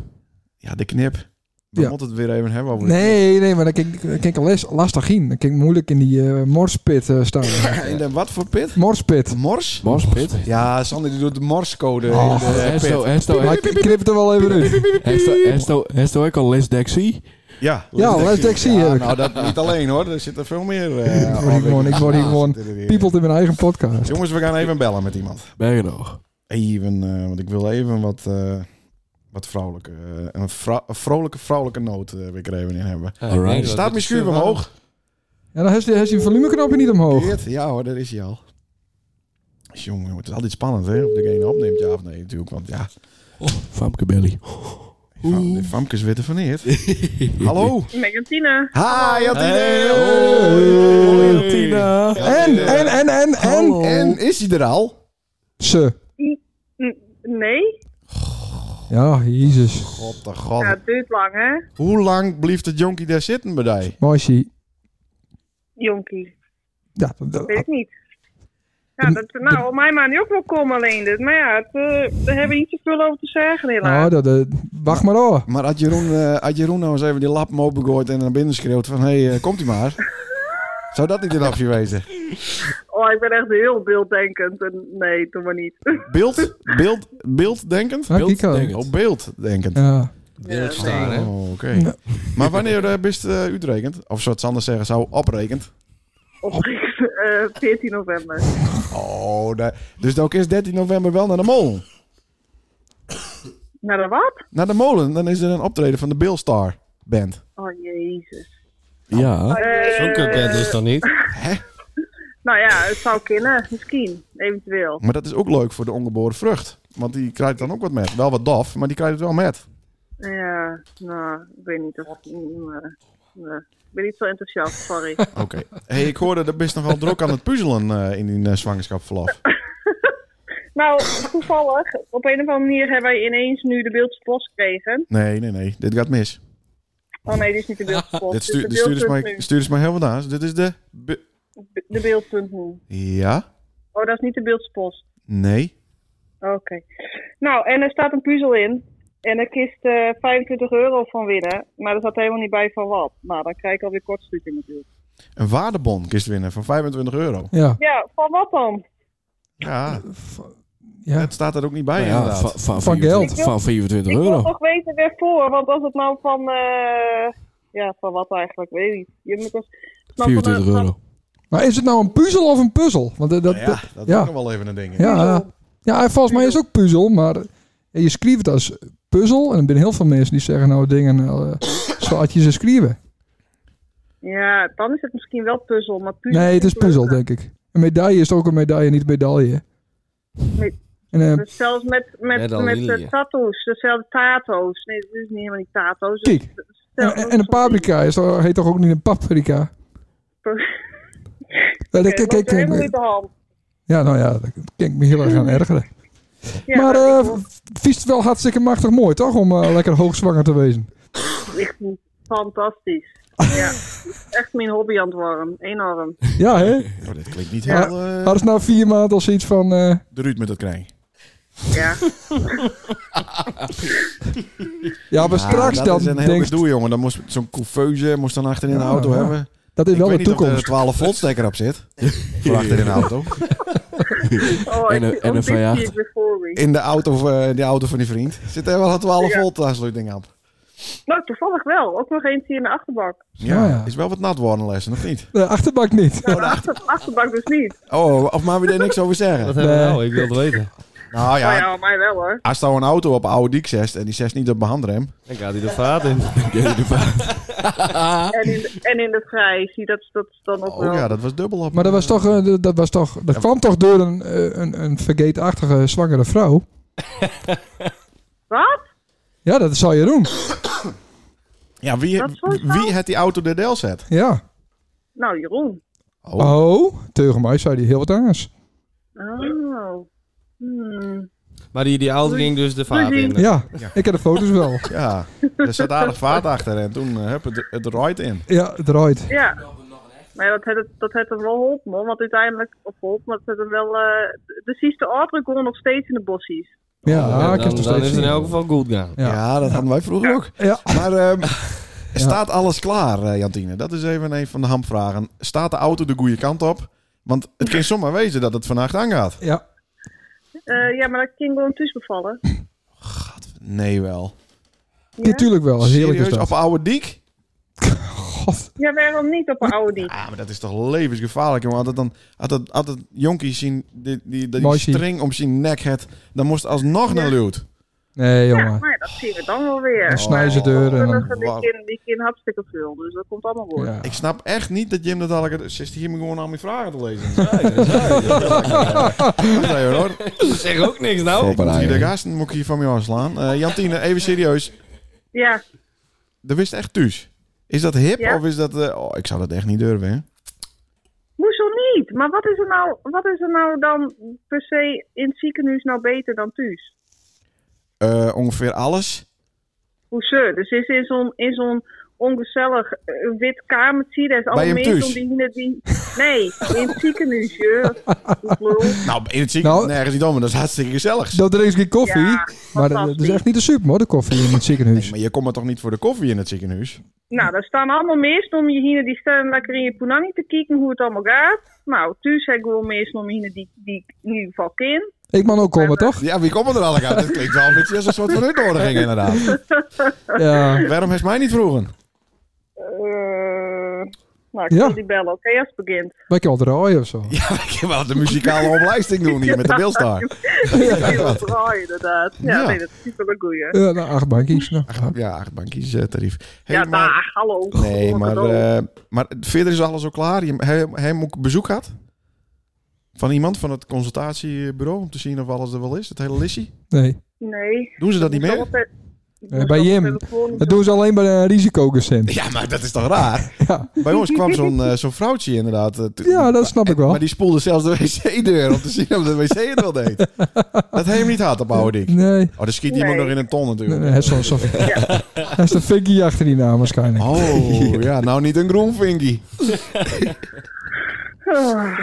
Ja, de knip. We
Ja.
moeten het weer even hebben over de
Nee, nee, maar dan kijk ik- dan kijk ik les- lastig in. Dan kijk ik moeilijk in die eh, morspit eh, staan.
knip. En de wat voor pit?
morspit.
Mors?
Morspit.
Ja, Sander die doet de morscode
Oh,
in de pit.
Hesto, hesto,
Maar ik ik knip het er wel even in.
hesto, hesto, hesto ook al Les Dexy?
Ja,
Ja,
Lesdexie.
Lesdexie
Ja,
heb ik.
nou,
Oh,
dat niet alleen hoor. Er zitten veel meer... eh,
Ik word hier gewoon- ik word hier gewoon
zitten er weer.
Piepelt in mijn eigen podcast.
Jongens, we gaan even bellen met iemand.
Bergen nog.
Even, eh, want ik wil even wat, eh, wat vrouwelijke... eh, een, vrou- een vrolijke vrouwelijke noot eh, weer er even in hebben.
Ja,
Alright.
ik denk dat
Staat
het
mijn schuur
is, eh,
omhoog?
Ja, dan heeft hij heeft hij een volumeknopje niet omhoog.
Geert? Ja hoor, daar is hij al. Jongen, het is altijd spannend hè. Of degene opneemt, ja of nee natuurlijk. Want ja,
Famke Belly.
die fam- die famkes witte van Eert. Hallo.
Megantina.
Hi, Jantine.
Hoi, Tina. En, en, en, en, en,
En is hij er al?
ze.
N- Nee?
Ja, jezus.
God de god.
Ja, het duurt lang, hè?
Hoe lang blijft het jonkie daar zitten bij die?
Moisie.
Jonkie.
Ja, dat- dat-
Weet ik niet. Ja, dat, nou, om mij maar niet ook wel komen alleen dit. Maar ja, het, eh, daar hebben we niet zoveel over te zeggen, helaas.
nou, dat, dat- wacht maar hoor.
Maar had Jeroen, eh, had Jeroen nou eens even die lap opengooid en naar binnen schreeuwt van... Hé, hey, eh, komt ie maar. Zou dat niet een optie wezen?
Oh, ik ben echt heel beelddenkend. En nee, doe maar niet.
Beeld? Beeld? Beelddenkend?
Ja, kijk al.
Oh, beelddenkend.
Ja.
beeld staan, hè?
Oh, oké.
Ja.
Maar wanneer eh bist eh uitrekend? Of zoals Sander zeggen zou, oprekend.
Op eh 14 november.
Oh, da- dus dan is 13 november wel naar de molen.
Naar de wat?
Naar de molen, dan is er een optreden van de Beelstar Band.
Oh, jezus.
Ja.
Eh,
Zo'n kutband is het dan niet?
Nou ja, het zou kunnen. Misschien. Eventueel.
Maar dat is ook leuk voor de ongeboren vrucht. Want die krijgt dan ook wat met. Wel wat dof, maar die krijgt het wel met.
Ja, nou, ik weet niet. Of, mm, eh, eh, ik ben niet zo enthousiast, sorry.
Oké. hey, ik hoorde dat best nogal druk aan het puzzelen eh, in die eh, zwangerschapsverlof.
Nou, toevallig, op een of andere manier hebben wij ineens nu de Beeldse Post gekregen.
Nee, nee, nee. Dit gaat mis.
Oh nee, dit is niet de Beeldse Post.
dit stu-
dit is
dit
de
stuurt
Beeldpunt
mij,
nu.
stuur mij heel wat aan. Dit is de... be-
Be- De Beeldpunt nu.
ja?
Oh, dat is niet de Beeldse Post.
Nee?
Oké. Nou, en er staat een puzzel in. En daar kist eh 25 euro van winnen. Maar er zat helemaal niet bij van wat. Nou, dan krijg ik alweer kortstukken natuurlijk.
Een waardebon kist winnen van 25 euro.
Ja.
Ja, van wat dan?
Ja,
ja.
het staat er ook niet bij
Nou ja,
inderdaad.
van, van,
Van
24
geld.
Van 24
Ik wil
euro.
toch weten waarvoor. Want als het nou van... eh, ja, van wat eigenlijk? Weet ik niet. Je moet als, het nou van
24
een-
euro.
Maar is het nou een puzzel of een puzzel? Want eh, dat,
Nou
dat-
ja, dat
ja.
is ook nog wel even een ding. hè.
ja, ja, en volgens mij is het ook puzzel, maar eh, je schrijft het als puzzel. En er zijn heel veel mensen die zeggen nou dingen eh, zoals je ze schrijven.
Ja, dan is het misschien wel puzzel. Maar puzzel
Nee, het is puzzel,
leuker.
denk ik. Een medaille is toch ook een medaille, niet een medaille.
Nee.
En, eh,
Dus zelfs met, met,
Met al
met,
lilien.
eh, tattoos. Dezelfde tato's. Nee, het is niet helemaal niet tato's.
Kijk.
Het is-
en, en een paprika is toch, heet toch ook niet een paprika? Ja, dat-
Oké,
kijk, kijk,
dat is helemaal
kijk.
niet de hand.
Ja, nou ja, dat kan ik me heel erg aan ergeren.
Ja,
maar
dat
eh vies het wel hartstikke machtig mooi, toch? Om eh, lekker hoogzwanger te wezen.
is echt fantastisch. Ja, echt mijn hobby aan het worden. Enorm.
Ja, hè?
Oh, dit klinkt niet
Ja.
heel... eh,
Hadden ze nou vier maanden al zoiets van... eh,
de Ruud met dat krijg.
Ja.
ja, maar straks
dat
dan
is een heel
denk
gedoe, jongen. Dan moest zo'n couveuse moest dan achterin in de
Ja,
auto
ja.
hebben.
dat is
Ik
wel
weet
de
niet of er een
toekomst.
12 volt stekker op zit. Voor achterin in de auto.
Oh,
En een-
ik,
en een
ook dit zie
V8.
ik weer voor me.
In de auto, of, eh, die auto van die vriend. Zit er wel een 12 volt eh, aansluiting aan.
Nou, toevallig wel. Ook nog eentje in de achterbak.
Ja,
Ja, ja.
is wel wat nat worden lessen, of niet?
De eh, achterbak niet.
Nou, de achter, achterbak dus niet.
Oh, of maar we daar niks over
Wat
zeggen.
hebben we
Nee.
nou? Ik wil het weten.
Nou
Ja.
ja,
ja, mij wel hoor.
als nou een auto op een oude diek zest en die zest niet op de handrem.
Dan gaat hij de vaat in.
En in de, en in de vrij, zie dat, dat is dan ook wel.
Oh ja, dat was dubbel op.
Maar dat was toch... eh, dat- dat was toch dat kwam toch door een, eh, een, een vergeetachtige zwangere vrouw?
Wat?
Ja, dat zou je doen.
Ja, wie,
Dat soort
wie had die auto de del zet?
Ja.
Nou, Jeroen.
Oh.
Oh, tegen mij zei hij heel wat anders.
Oh. Hmm.
Maar die, die auto ging dus de vaat in.
Ja, ik heb de foto's wel.
Ja, er zat aardig vaart achter en toen eh, hup, het, het rijdt in.
Ja, het draait.
Ja. Maar ja, dat heeft het- dat heeft hem wel geholpen hoor. Want uiteindelijk, of geholpen, maar dat heeft hem wel... eh de zieste auto gewoon nog steeds in de bossies.
Ja,
Ja,
ik heb
dan,
er
dan
steeds
is het nou- in
zien.
elk geval goed gaan.
Ja.
Ja, dat hadden wij vroeger ook.
Ja.
Maar ehm, staat alles klaar, eh, Jantine? Dat is even een van de hamvragen. Staat de auto de goede kant op? Want het kan zomaar wezen dat het vannacht aangaat.
Ja.
Eh, ja, maar dat ging gewoon tussen bevallen.
Nee wel.
Ja?
natuurlijk wel. Heerlijk is
Serieus,
dat.
op een oude diek?
God.
Ja, waarom niet op een Audi?
Ah, maar dat is toch levensgevaarlijk, jongen. Had het dan, had het, had het jonkie zien, die, die, die,
Mooi zien.
string om zijn nek had, dan moest het alsnog naar Luut.
Nee,
Ja,
jongen.
maar ja, dat zien we dan wel weer.
Dan snij ze deur en dan...
Gelukkig, die kind, die kind hartstikke veel, dus dat komt allemaal goed.
Ja.
Ik snap echt niet dat Jim dat al... Zit hier me gewoon aan mijn vragen te lezen. Nee hoor.
Zeg ook niks nou.
Ik moet hier de gasten moet ik hier van me afslaan. Eh, Jantine, even serieus.
Ja,
Dat wist echt thuis. Is dat hip
Ja.
of is dat... eh, oh, ik zou dat echt niet durven, hè?
hoezo niet? Maar wat is er nou, wat is er nou dan per se in het ziekenhuis nou beter dan thuis?
Eh, ongeveer alles.
Hoezo? Dus is in zo'n in zo'n ongezellig eh, wit kamertje, daar is allemaal
hem
mensen
thuis?
die hier die... Nee, in het ziekenhuis, je. Hoezo?
Nou, in het ziekenhuis
Nou.
nergens niet om, maar dat is hartstikke gezellig.
Dat drinkt geen koffie.
Ja,
maar dat- dat
fantastisch.
is echt niet de super, hoor, de koffie in het ziekenhuis.
Maar je komt er toch niet voor de koffie in het ziekenhuis?
Nou, daar staan allemaal meestal om je heen. Die staan lekker in je punani te kijken hoe het allemaal gaat. Nou, thuis heb ik wel meestal om je heen die, die ik in ieder geval ken.
Ik mag ook komen, toch?
Ja, wie komt er dan uit? Dat klinkt wel een beetje als een soort van uitnodiging, inderdaad.
Ja.
Waarom heeft mij niet vroegen?
Eh, nou, ik
Ja.
wil die bellen. Oké, als het begint.
Wij kunnen wel draaien of zo.
Ja, ik heb wel de muzikale omlijsting doen hier met de Beelstar.
Ja, heel fraai, inderdaad. Ja,
Ja.
nee, dat is wel een goeie.
Ja, nou, acht bankjes. Nou.
Ja, acht bankjes eh, tarief. Hey,
ja,
maar,
dag, hallo.
nee, maar,
Hallo.
eh, maar verder is alles al klaar. Je- Hij, hij moet bezoek gehad? Van iemand van het consultatiebureau om te zien of alles er wel is. Het hele lissie.
Nee.
nee.
Doen ze dat niet meer?
Altijd-
Eh, bij Jim.
telefoon-
Dat doen ze alleen bij de risicogezin.
Ja, maar dat is toch raar?
Ja.
Bij ons kwam zo'n eh, zo'n vrouwtje inderdaad. eh, t-
ja, dat snap ik wel.
Maar die spoelde zelfs de wc-deur om te zien of de wc het wel deed. Dat heeft hem niet hard op oude dik.
Nee.
Oh, dan schiet iemand
Nee.
nog in een ton
Nee,
natuurlijk.
nee, hij is zo'n- zo'n- Hij is de fikkie achter die naam waarschijnlijk.
Oh, ja, nou niet een groenvinkie.
Ah,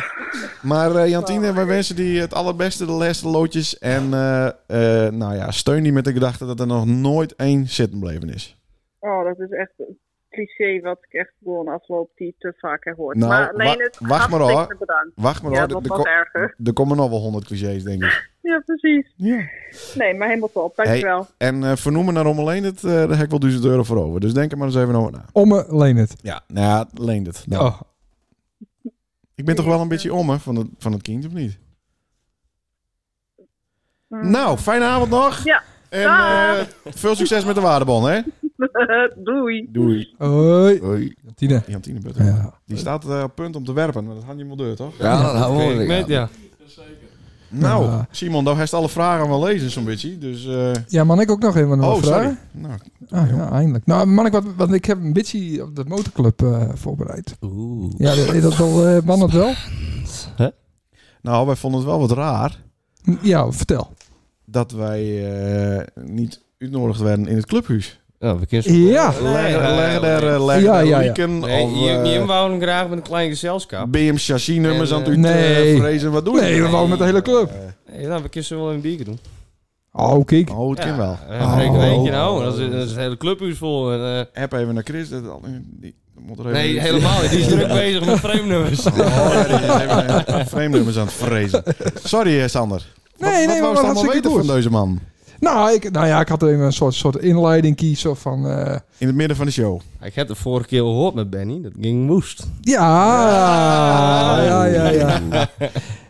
Maar eh, Jantine, wij wensen die het allerbeste de laatste loodjes. En eh, eh, nou ja, steun die met de gedachte dat er nog nooit één zitten bleven is.
Oh, dat is echt een cliché wat ik echt gewoon afloop die te vaak heb gehoord.
Nou,
maar alleen
wa-
het
wacht maar
hartstikke
hoor.
bedankt.
Wacht maar
ja,
hoor,
dat
er-
was
er
erger.
ko- er komen nog wel honderd clichés, denk ik.
Ja, precies.
Ja.
Nee, maar helemaal top. Dankjewel.
En eh, vernoemen naar Om alleen het, eh, daar heb ik wel duizend euro voor over. Dus denk er maar eens even over na.
Omme Leenert.
Ja, nou ja, leent het. Nou,
Oh,
Ik ben toch wel een beetje om, hè, van het, van het kind, of niet?
Mm.
Nou, fijne avond nog.
Ja.
En
Dag.
eh, veel succes met de waardebon, hè?
Doei.
Doei.
hoi. Tine.
Jantine Butter.
Ja.
Die staat eh, op punt om te werpen, maar dat had je hem wel deur, toch?
Ja, dat houden
Oké,
we
met,
niet.
ja.
Nou,
Ja.
Simon, daar heeft alle vragen wel lezen zo'n beetje. Dus, eh,
ja, man, ik ook nog even een
oh, sorry.
vraag.
Nou,
Ah, ja, eindelijk. Nou, man, ik, wat, wat, ik heb een bitchie op de motorclub eh, voorbereid.
Oeh.
Ja, is dat wel, eh man, dat wel?
nou, wij vonden het wel wat raar
Ja, vertel.
dat wij eh, niet uitnodigd werden in het clubhuis.
Nou, verkeersverkeer.
Ja.
Leggen
nee,
leggen
nee,
daar
nee.
eh, leggen
Ja,
daar
ja, ja.
Lieken
Nee,
of
je,
eh,
je wou hem graag met een klein gezelschap.
BM chassis nummers
En,
aan het uit,
eh, nee.
eh, vrezen. Wat doe je?
Nee, we wonen met de hele club.
Hey, nou, we kunnen wel een biertje doen.
Oh, kijk.
Oh, het kan wel.
Ja, we drinken
Oh.
een eentje nou. Dat is, dat is het hele clubhuis vol. En, eh,
Heb even naar Chris. Dat, al- die, dat moet er even
nee, helemaal niet. Die is druk bezig met vreemdnummers.
Oh, ja, die is even, eh, vreemdnummers aan het vrezen. Sorry, eh, Sander.
nee, maar
wat
dat
wou allemaal
hartstikke
weten
goed.
van deze man?
Nou, ik, nou ja, ik had even een soort, soort inleiding kiezen van... eh,
In het midden van de show.
Ik heb de vorige keer gehoord met Benny. Dat ging woest.
ja, ja, ja, ja.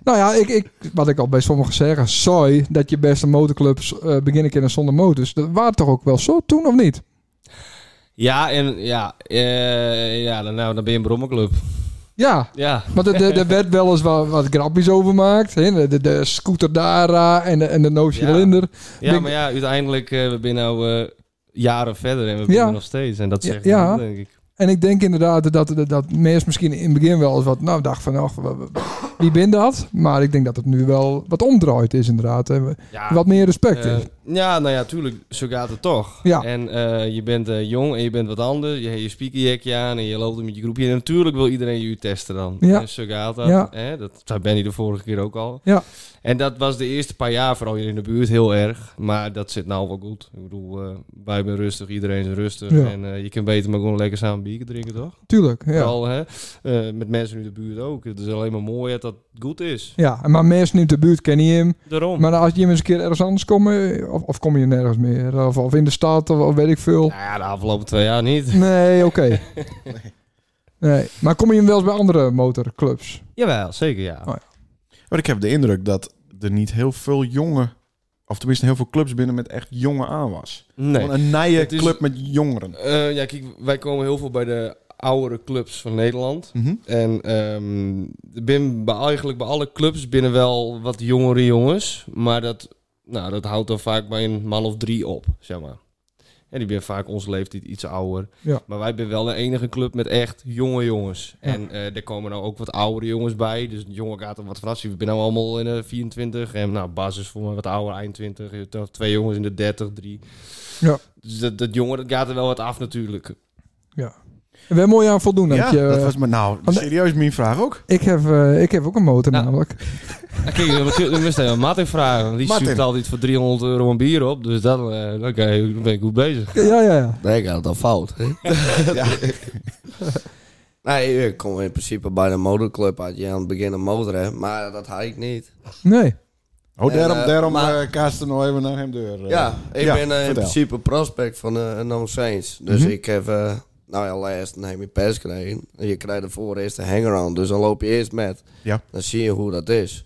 nou ja, ik, ik, wat ik al bij sommigen zeg, sorry dat je beste motorclubs eh, beginnen kennen zonder motors. Dat waren toch ook wel zo toen, of niet?
Ja, en ja, eh, ja dan, nou, dan ben je een brommerclub.
Ja,
Ja.
want er- er er werd wel eens wat, wat grapjes over gemaakt. hè. De, de, de scooter Dara en de, en de no cylinder.
ja,
Denk-
maar ja, uiteindelijk, eh, we zijn nou eh, jaren verder en we zijn
Ja.
er nog steeds. En dat
Ja,
zegt
ja.
niemand, denk ik.
En ik denk inderdaad dat, dat, dat mensen misschien in het begin wel eens wat... Nou, dacht van, ach, wa- wa- wie ben dat? Maar ik denk dat het nu wel wat omdraaid is inderdaad. En we-
Ja,
wat meer respect
eh,
is.
ja, nou ja, tuurlijk, zo gaat het toch.
Ja.
En eh, je bent eh, jong en je bent wat anders. Je hebt je speakerjackje aan en je loopt met je groepje. En natuurlijk wil iedereen je testen dan.
Ja.
En zo gaat dat.
Ja.
Hè? Dat zei Benny de vorige keer ook al.
Ja.
En dat was de eerste paar jaar, vooral hier in de buurt, heel erg. Maar dat zit nou wel goed. Ik bedoel, eh, wij zijn rustig, iedereen is rustig.
Ja.
En eh, je kunt beter maar gewoon lekker samen bier drinken, toch?
Tuurlijk, ja.
Vooral hè, eh, met mensen in de buurt ook. Het is alleen maar mooi dat dat goed is.
Ja, maar mensen in de buurt kennen hem.
Daarom.
Maar als je hem eens een keer ergens anders komt, eh, of, of kom je nergens meer, of, of in de stad, of, of weet ik veel.
nou ja, de afgelopen twee jaar niet.
Nee, oké. Nee. Maar kom je hem wel eens bij andere motorclubs?
Jawel, zeker ja.
Oh.
Maar ik heb de indruk dat er niet heel veel jonge... Of tenminste heel veel clubs binnen met echt jonge aan was.
Nee.
Gewoon een nije
Dus-
Het is-
club met jongeren.
Eh, ja, kijk, wij komen heel veel bij de oudere clubs van Nederland.
Mhm.
En ehm er zijn bij- eigenlijk bij alle clubs binnen wel wat jongere jongens. Maar dat, nou, dat houdt dan vaak bij een man of drie op, zeg maar. En die ben vaak onze leeftijd iets ouder.
Ja.
Maar wij zijn wel de enige club met echt jonge jongens. En eh er komen nou ook wat oudere jongens bij. Dus de jongen gaat er wat vanaf. We zijn nou allemaal in de 24. En nou, Bas is voor mij wat ouder, eind 20. Je hebt nog Twee jongens in de 30, drie.
Ja.
Dus dat, dat jongen, dat gaat er wel wat af natuurlijk.
We hebben mooi aan voldoen.
Ja,
dat je, eh,
dat was maar nou,
want-
serieus mijn vraag ook.
ik, heb, eh, ik heb ook een motor
Ja.
namelijk.
Ja, Nou, Kijk, dan moet je- dan moest je aan Martin vragen. want Die
Martin.
zoekt altijd voor 300 euro een bier op. Dus dan, eh, oké, dan ben ik goed bezig.
Ja, ja, ja.
Nee, ik had het al fout. hè.
Ja.
Nee, ik kom in principe bij de motorclub had je aan het begin een motor, hè. Maar dat had ik niet.
Nee.
Oh,
En,
daarom,
eh,
daarom
maar-
eh, kaast er nog even naar hem deur. eh.
Ja, ik
Ja,
ben eh, in
vertel.
principe prospect van eh No Saints. Dus
Mhm.
ik heb, eh, nou ja, laatst neem je pers gekregen. En je krijgt ervoor eerst een hangaround. Dus dan loop je eerst met.
Ja.
Dan zie je hoe dat is.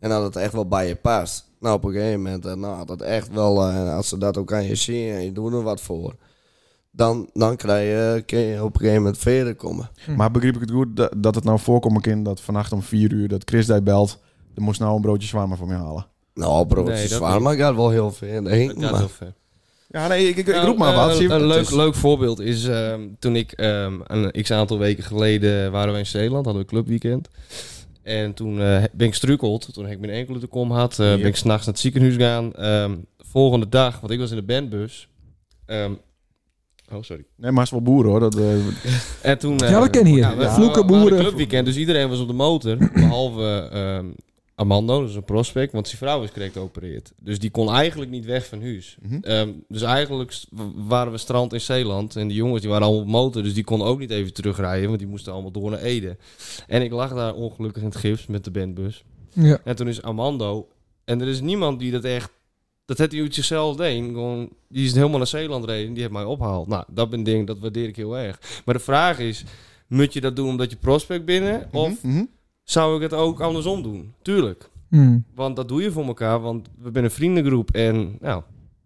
En dat het echt wel bij je past. Nou, op een gegeven moment, eh, nou, dat echt wel, eh, als ze dat ook aan je zien en je doet er wat voor. Dan, dan krijg je, eh, kun je op een gegeven moment verder komen.
Maar begreep ik het goed dat, dat het nou voorkomen kan dat vannacht om 4 uur dat Chris daar belt. Er moest nou een broodje zwaar voor me halen.
Nou, bro,
Nee,
het is
dat
zwaar,
niet.
maar ik had wel heel veel. Nee,
Dat is
maar-
heel ver.
Ja, nee, ik, ik, ik
Nou,
roep maar
eh,
wat.
Een,
Zie- het
leuk,
is-
leuk voorbeeld is ehm, toen ik ehm, een x aantal weken geleden waren we in Zeeland, hadden we een clubweekend. En toen eh, ben ik strukkeld, toen ik mijn enkele te kom had, eh,
Ja.
ben ik s'nachts naar het ziekenhuis gegaan. Ehm, volgende dag, want ik was in de bandbus, ehm, Oh, sorry.
Nee, maar het is wel boeren hoor. Dat, eh,
En toen, eh,
Ja, dat ken hier.
we-
Ja.
we-
Vloeken,
we hadden
boeren.
clubweekend, dus iedereen was op de motor. Behalve ehm, Amando, dat is een prospect, want zijn vrouw is correct geopereerd. Dus die kon eigenlijk niet weg van huis.
Mhm.
Ehm, dus eigenlijk st- w- waren we strand in Zeeland. En die jongens die waren allemaal op motor, dus die konden ook niet even terugrijden. Want die moesten allemaal door naar Ede. En ik lag daar ongelukkig in het gips met de bandbus.
Ja.
En toen is Amando. En er is niemand die dat echt. Dat heeft hij uit zichzelf deed. Gewoon, die is helemaal naar Zeeland reden. Die heeft mij opgehaald. Nou, dat ben ding, dat waardeer ik heel erg. Maar de vraag is: moet je dat doen omdat je prospect binnen? Of
mhm.
zou ik het ook andersom doen? Tuurlijk.
Hmm.
Want dat doe je voor elkaar. Want we zijn een vriendengroep. En nou,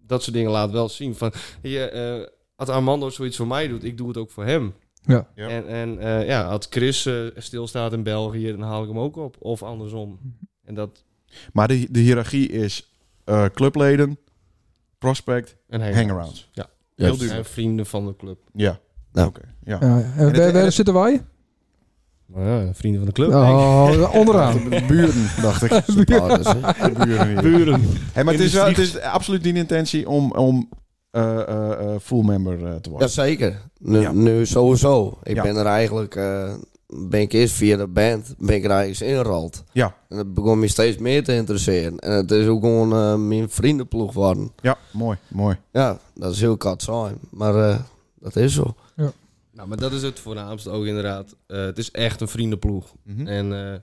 dat soort dingen laat wel zien. Van, je, eh, als Armando zoiets voor mij doet, ik doe het ook voor hem.
Ja.
Ja.
En, en eh, ja, als Chris eh, stilstaat in België, dan haal ik hem ook op. Of andersom. En dat,
Maar de, de hiërarchie is eh, clubleden, prospect,
En
hangarounds. Heel duur.
En vrienden van de club.
Ja.
Nou.
Oké, ja.
Ja, en
het-
waar,
en
waar
het-
zitten wij?
Oh vrienden van de club.
Oh, onderaan.
De buren, dacht ik.
Supporters, hè.
De buren. hier. Hey, maar het is, wel, het is absoluut niet de intentie om, om eh, eh, eh, full member eh, te worden.
Jazeker. Nu,
Ja.
nu sowieso. Ik
Ja.
ben er eigenlijk... eh, ben ik eerst via de band ben ik er eigenlijk eens ingerold.
Ja.
En dat begon me steeds meer te interesseren. En het is ook gewoon eh, mijn vriendenploeg geworden.
Ja, mooi, mooi.
Ja, dat is heel kat zijn. Maar eh, dat is zo.
Nou, maar dat is het voornaamste ook inderdaad. Eh, het is echt een vriendenploeg.
Mhm.
En eh,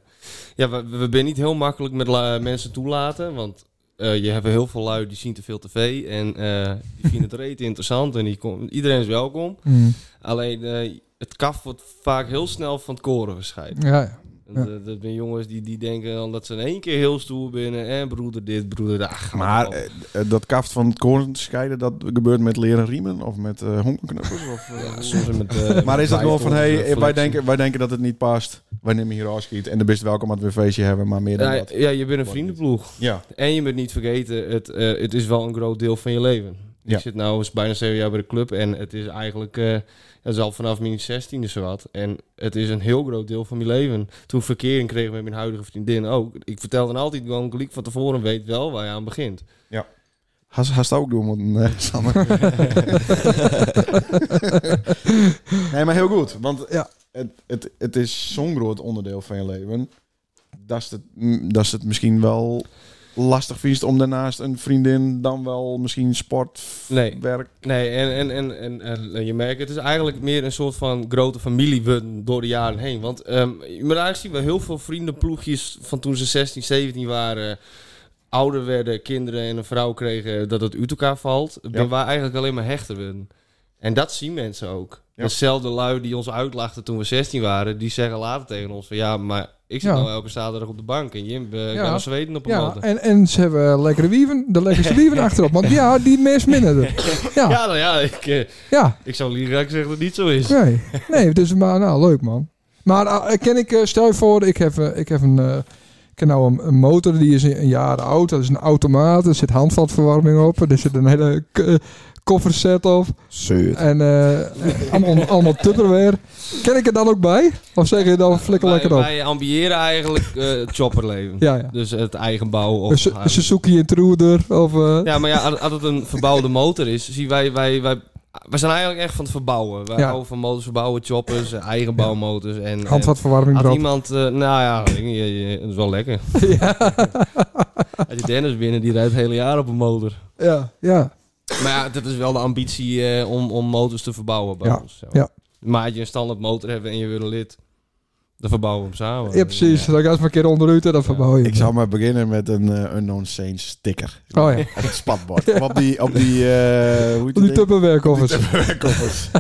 ja, we, we zijn niet heel makkelijk met la- mensen toelaten. Want eh, je hebt heel veel lui die zien te veel tv. En eh, die vinden het reet interessant. En die kom- iedereen is welkom.
Hmm.
Alleen eh, het kaf wordt vaak heel snel van het koren gescheiden.
Ja, ja.
Want, eh, Dat zijn jongens die, die denken dan dat ze in één keer heel stoer binnen. En broeder dit, broeder dat. Ach,
Maar
man.
eh, eh, dat kaft van het koren scheiden, dat gebeurt met leren riemen of met eh honkenknuppels? Of, eh,
Ja, soms met, eh,
maar is dat gewoon van,
vijfhonderd
hey, wij
reflectie.
denken, wij denken dat het niet past, wij nemen hier afschiet en de best welkom dat we een feestje hebben, maar meer dan
Ja, eh,
dat.
ja, je bent een vriendenploeg.
Ja,
En je moet niet vergeten, het, eh, het is wel een groot deel van je leven.
Ja.
Ik zit nou eens bijna zeven jaar bij de club en het is eigenlijk, eh dat is al vanaf mijn zestiende zowat. En het is een heel groot deel van mijn leven. Toen ik verkering kreeg met mijn huidige vriendin ook. Ik vertelde dan altijd gewoon, Liek van tevoren weet wel waar je aan begint.
Haast haast ook doen, want, eh, Sander. nee, maar heel goed. Want
Ja.
het, het, het is zo'n groot onderdeel van je leven. Dat is het, mm, dat is het misschien wel lastig vindt om daarnaast een vriendin dan wel misschien sport,
Nee.
werk.
Nee, en, en, en, en, en je merkt, het is eigenlijk meer een soort van grote familie worden door de jaren heen. Want ehm je moet eigenlijk zien, we heel veel vriendenploegjes van toen ze 16, 17 waren, eh, ouder werden, kinderen en een vrouw kregen, dat het uit elkaar valt. Ja.
Ja.
Ben wij eigenlijk alleen maar hechter werden. En dat zien mensen ook.
Ja.
Dezelfde lui die ons uitlachten toen we 16 waren, die zeggen later tegen ons van ja, maar ik zit
Ja.
nou elke zaterdag op de bank en Jim, we
Ja.
gaan naar Zweden op een
Ja,
motor.
en, en ze hebben lekkere wieven, de lekkerste wieven achterop. Want ja, die mes minder. Ja,
Ja, nou ja, ik, eh,
ja.
ik zou liever zeggen dat het niet zo is.
Nee, nee, dus maar nou, leuk man. Maar eh, ken ik, eh, stel je voor, ik heb, eh, ik heb een, eh, ik heb nou een, een motor die is een jaar oud. Dat is een automaat, er zit handvatverwarming op, er zit een hele k- eh, kofferset op.
Zuur.
En eh, allemaal, allemaal tupperware. Ken ik er dan ook bij? Of zeg je dan flikker
wij,
lekker op?
Wij ambiëren eigenlijk eh, het chopperleven.
Ja, ja.
Dus het eigen bouw. Of
Een Su- een Suzuki Intruder of... eh,
Ja, maar ja, als- als het een verbouwde motor is, zien wij, wij, wij, wij zijn eigenlijk echt van het verbouwen. Wij
Ja.
houden van motors verbouwen, choppers, eh, eigen bouwmotors. En, en
Handvatverwarming
had
erop.
iemand, eh, nou ja, ik- je- je- dat is wel lekker. Had je Dennis binnen, die rijdt het hele jaar op een motor.
Ja, ja.
Maar ja, dat is wel de ambitie eh, om, om motors te verbouwen bij
Ja,
ons. Zo.
ja.
Maar als je een standaard motor hebt en je wil een lid, dan verbouwen we hem samen.
ja, precies. Dan ga je eens maar een keer onderuit en dan verbouw je.
Ik zou maar beginnen met een eh, Unknown Saints sticker.
Oh ja,
Het spatbord. Op die, op die eh, hoe heet
die
dat ding?
tupperware-koffers.
Koffers.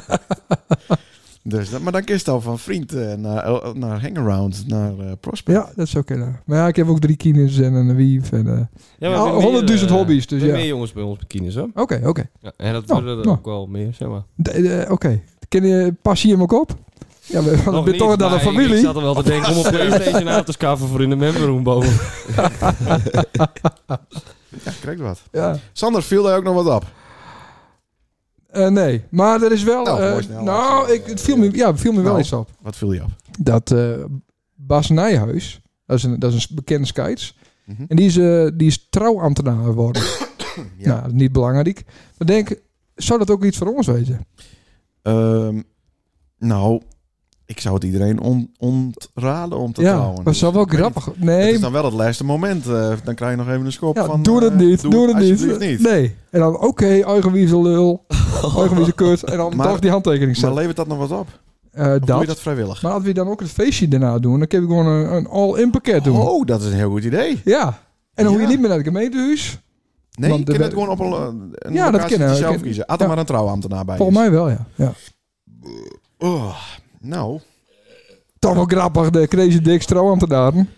dus, dat- maar dan kist al van vriend eh, naar, eh, naar hangaround, naar eh, prospect.
Ja, dat zou kunnen. Maar ja, ik heb ook drie kines en een wief. En, eh,
Ja, maar
Ja,
er zijn
100.000
meer, eh,
hobby's, dus
er zijn
ja.
meer jongens bij ons bikinis, hoor.
Oké, oké.
Ja, en dat
Nou,
worden er
nou.
ook wel meer, zeg maar.
De- de- eh, Oké. Ken je Pas je hem ook op? Ja, we want
Nog
het bent toch
niet,
dan een
maar Ik, ik
familie.
zat er wel te denken om een Playstation aan te schaffen voor in de memberroom boven.
Ja, krijg wat.
Ja.
Sander, viel daar ook nog wat op?
Eh, nee, maar er is wel.
Nou,
eh,
mooi snel.
nou, ik, het viel me, ja, het viel me wel
Nou.
eens op.
Wat viel je op?
Dat eh, Bas Nijhuis, dat is een, dat is een bekende skites.
Mhm.
En die is, eh, die is trouwambtenaar geworden.
Ja.
Nou, niet belangrijk. Maar denk, zou dat ook iets voor ons weten?
Ehm, nou, ik zou het iedereen on- ontraden om te
ja,
trouwen.
maar het is wel wel
Ik weet niet.
grappig.
Het
Nee,
is dan wel het laatste moment. eh, dan krijg je nog even een schop
ja,
van...
doe het
eh,
niet, doe, het niet.
alsjeblieft niet. Oh.
Nee. En dan, oké, eigenwijze lul, eigenwijze kut. En dan
Maar-
toch die handtekening
Maar
zetten.
levert dat nog wat op? Of
Eh,
doe je
dat.
dat vrijwillig?
Maar als we dan ook het feestje daarna doen, dan kan ik gewoon een, een all-in pakket doen.
Oh, dat is een heel goed idee.
Ja. En dan hoef je
Ja.
niet meer naar het gemeentehuis.
Nee,
Want de-
je kunt het gewoon op een, eh, een
Ja, dat
locatie
kunnen
die
we.
zelf
Kun-
kiezen. Had er
ja.
maar een trouwambtenaar bij
Volgens
is.
mij wel, ja. ja.
Oh, nou,
Toch wel grappig, de Crazy Dick trouwambtenaren.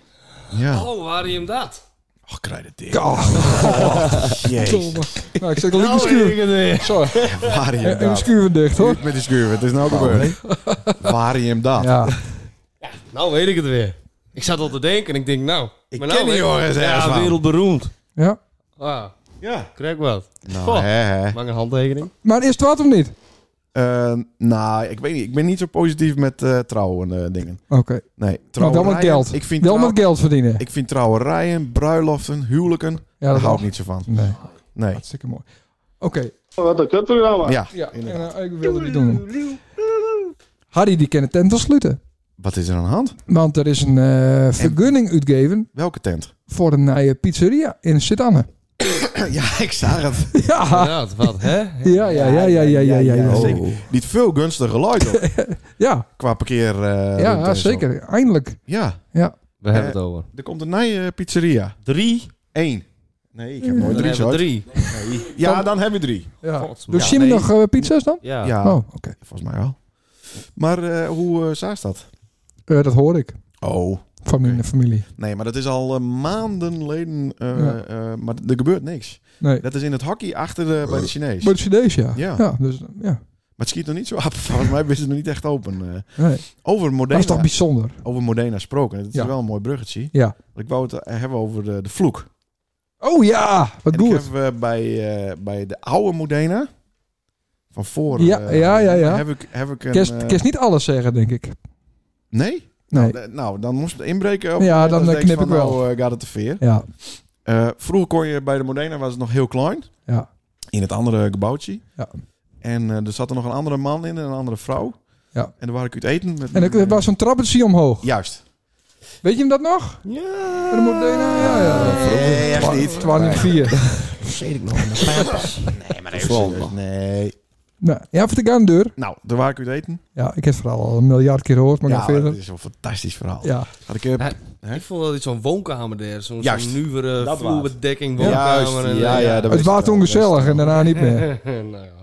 ja.
Oh, waar je hem dat?
Och, krijg dit dicht.
Ja,
Oh. Jezus.
verdomme. nou, ik zit al in de schuur. Sorry,
Waar je
in de
dat?
schuur dicht, hoor.
Niet met die schuur, het is nou gebeurd. Waar je hem dat?
Ja,
Nou weet ik het weer. Ik zat al te denken en ik denk, nou...
Ik
maar
ken
nou
die
weet-
jongens ergens
Ja,
van.
wereldberoemd.
ja.
Ah,
Ja.
krijg wat.
Nou,
Goh.
hè, hè.
Maak een handtekening.
Maar is het wat of niet?
Eh, nou, ik weet niet. Ik ben niet zo positief met eh trouwen eh, dingen.
Oké.
Nee,
Maar Nou, wel
trouwerijen.
met geld.
Ik vind,
Wel
trouw-
met geld verdienen.
ik vind trouwerijen, bruiloften, huwelijken,
ja,
daar
dat
hou ik
ook.
niet zo van.
Nee,
Nee.
hartstikke mooi. Oké,
Ja,
ja. En,
inderdaad.
eh, ik wilde die doen. Harry, die kan de tent wel sluiten.
Wat is er aan de hand?
Want er is een eh, vergunning uitgegeven
Welke tent?
voor een nieuwe pizzeria in Sint-Anne.
ja, ik zag het.
Ja.
Inderdaad, wat, hè?
Ja, ja, ja, ja, ja, ja, ja. Ja,
ja,
ja,
zeker.
Oh.
Niet veel gunstiger geluid op,
ja,
qua parkeer. eh, route en zo.
zeker. Eindelijk.
Ja,
We hebben
Eh,
het over.
er komt een nieuwe eh, pizzeria.
Drie.
Eén. Nee,
Mm.
ik heb nooit
Dan
drie
hebben
zo.
we drie.
Ja, dan heb je drie.
Ja.
Gods,
Dus
ja,
zien we
nee.
nog eh, pizza's dan?
Ja.
Ja,
Oh, oké.
volgens mij wel. Maar eh, hoe eh zaast dat?
Eh, dat hoor ik
Oh.
van mijn
Oké.
familie.
Nee, maar dat is al eh, maanden geleden. eh,
Ja.
eh, maar er gebeurt niks.
Nee. Eh,
Dat is in het hockey achter de, bij de Chinees.
Maar het Chinees, ja.
Ja.
dus, ja.
Maar het schiet nog niet zo af. Volgens mij is het nog niet echt open. eh.
Nee.
over
Dat
Modena,
is toch bijzonder?
over Modena gesproken. Het is
Ja.
wel een mooi bruggetje.
Ja.
Ik wou het eh, hebben over de, de vloek.
Oh ja, wat
En ik
goed.
heb eh, bij, eh, bij de oude Modena, van voor...
Ja,
eh,
ja, ja, ja.
Heb ik, heb ik een...
Kerst,
eh,
kerst niet alles zeggen, denk ik.
Nee?
Nee.
Nou, d- nou, dan moest het inbreken. Op
Ja,
het moment
dan,
dat
eh,
je denkt
knip
van,
ik wel.
Nou, eh, gaat het te veer.
Ja,
Eh, vroeger kon je bij de Modena, was het nog heel klein.
Ja.
In het andere gebouwtje.
Ja.
En eh, er zat er nog een andere man in en een andere vrouw.
Ja.
En daar waar ik uit eten. Met
en er was zo'n trappetje omhoog.
Juist.
Weet je hem dat nog? Ja. De Modena, ja, ja.
Nee, echt niet.
Het waren er vier.
Nee.
Nou, ja, even de aan de deur.
Nou, daar waar ik uit eten.
Ja, ik heb het verhaal al een miljard keer gehoord, maar ik
ja,
ga
dat
verder.
is een fantastisch verhaal.
Ja,
Had ik, eh,
Ja, Ik vond dat iets zo'n woonkamer daar. Zo'n
Juist.
zo'n nieuwere
Dat
vloerbedekking
Juist,
woonkamer. en,
ja,
eh,
ja, dat
het
wist
was
ik wel,
toen gezellig
wist ik
en
wel.
daarna niet meer.
nou ja.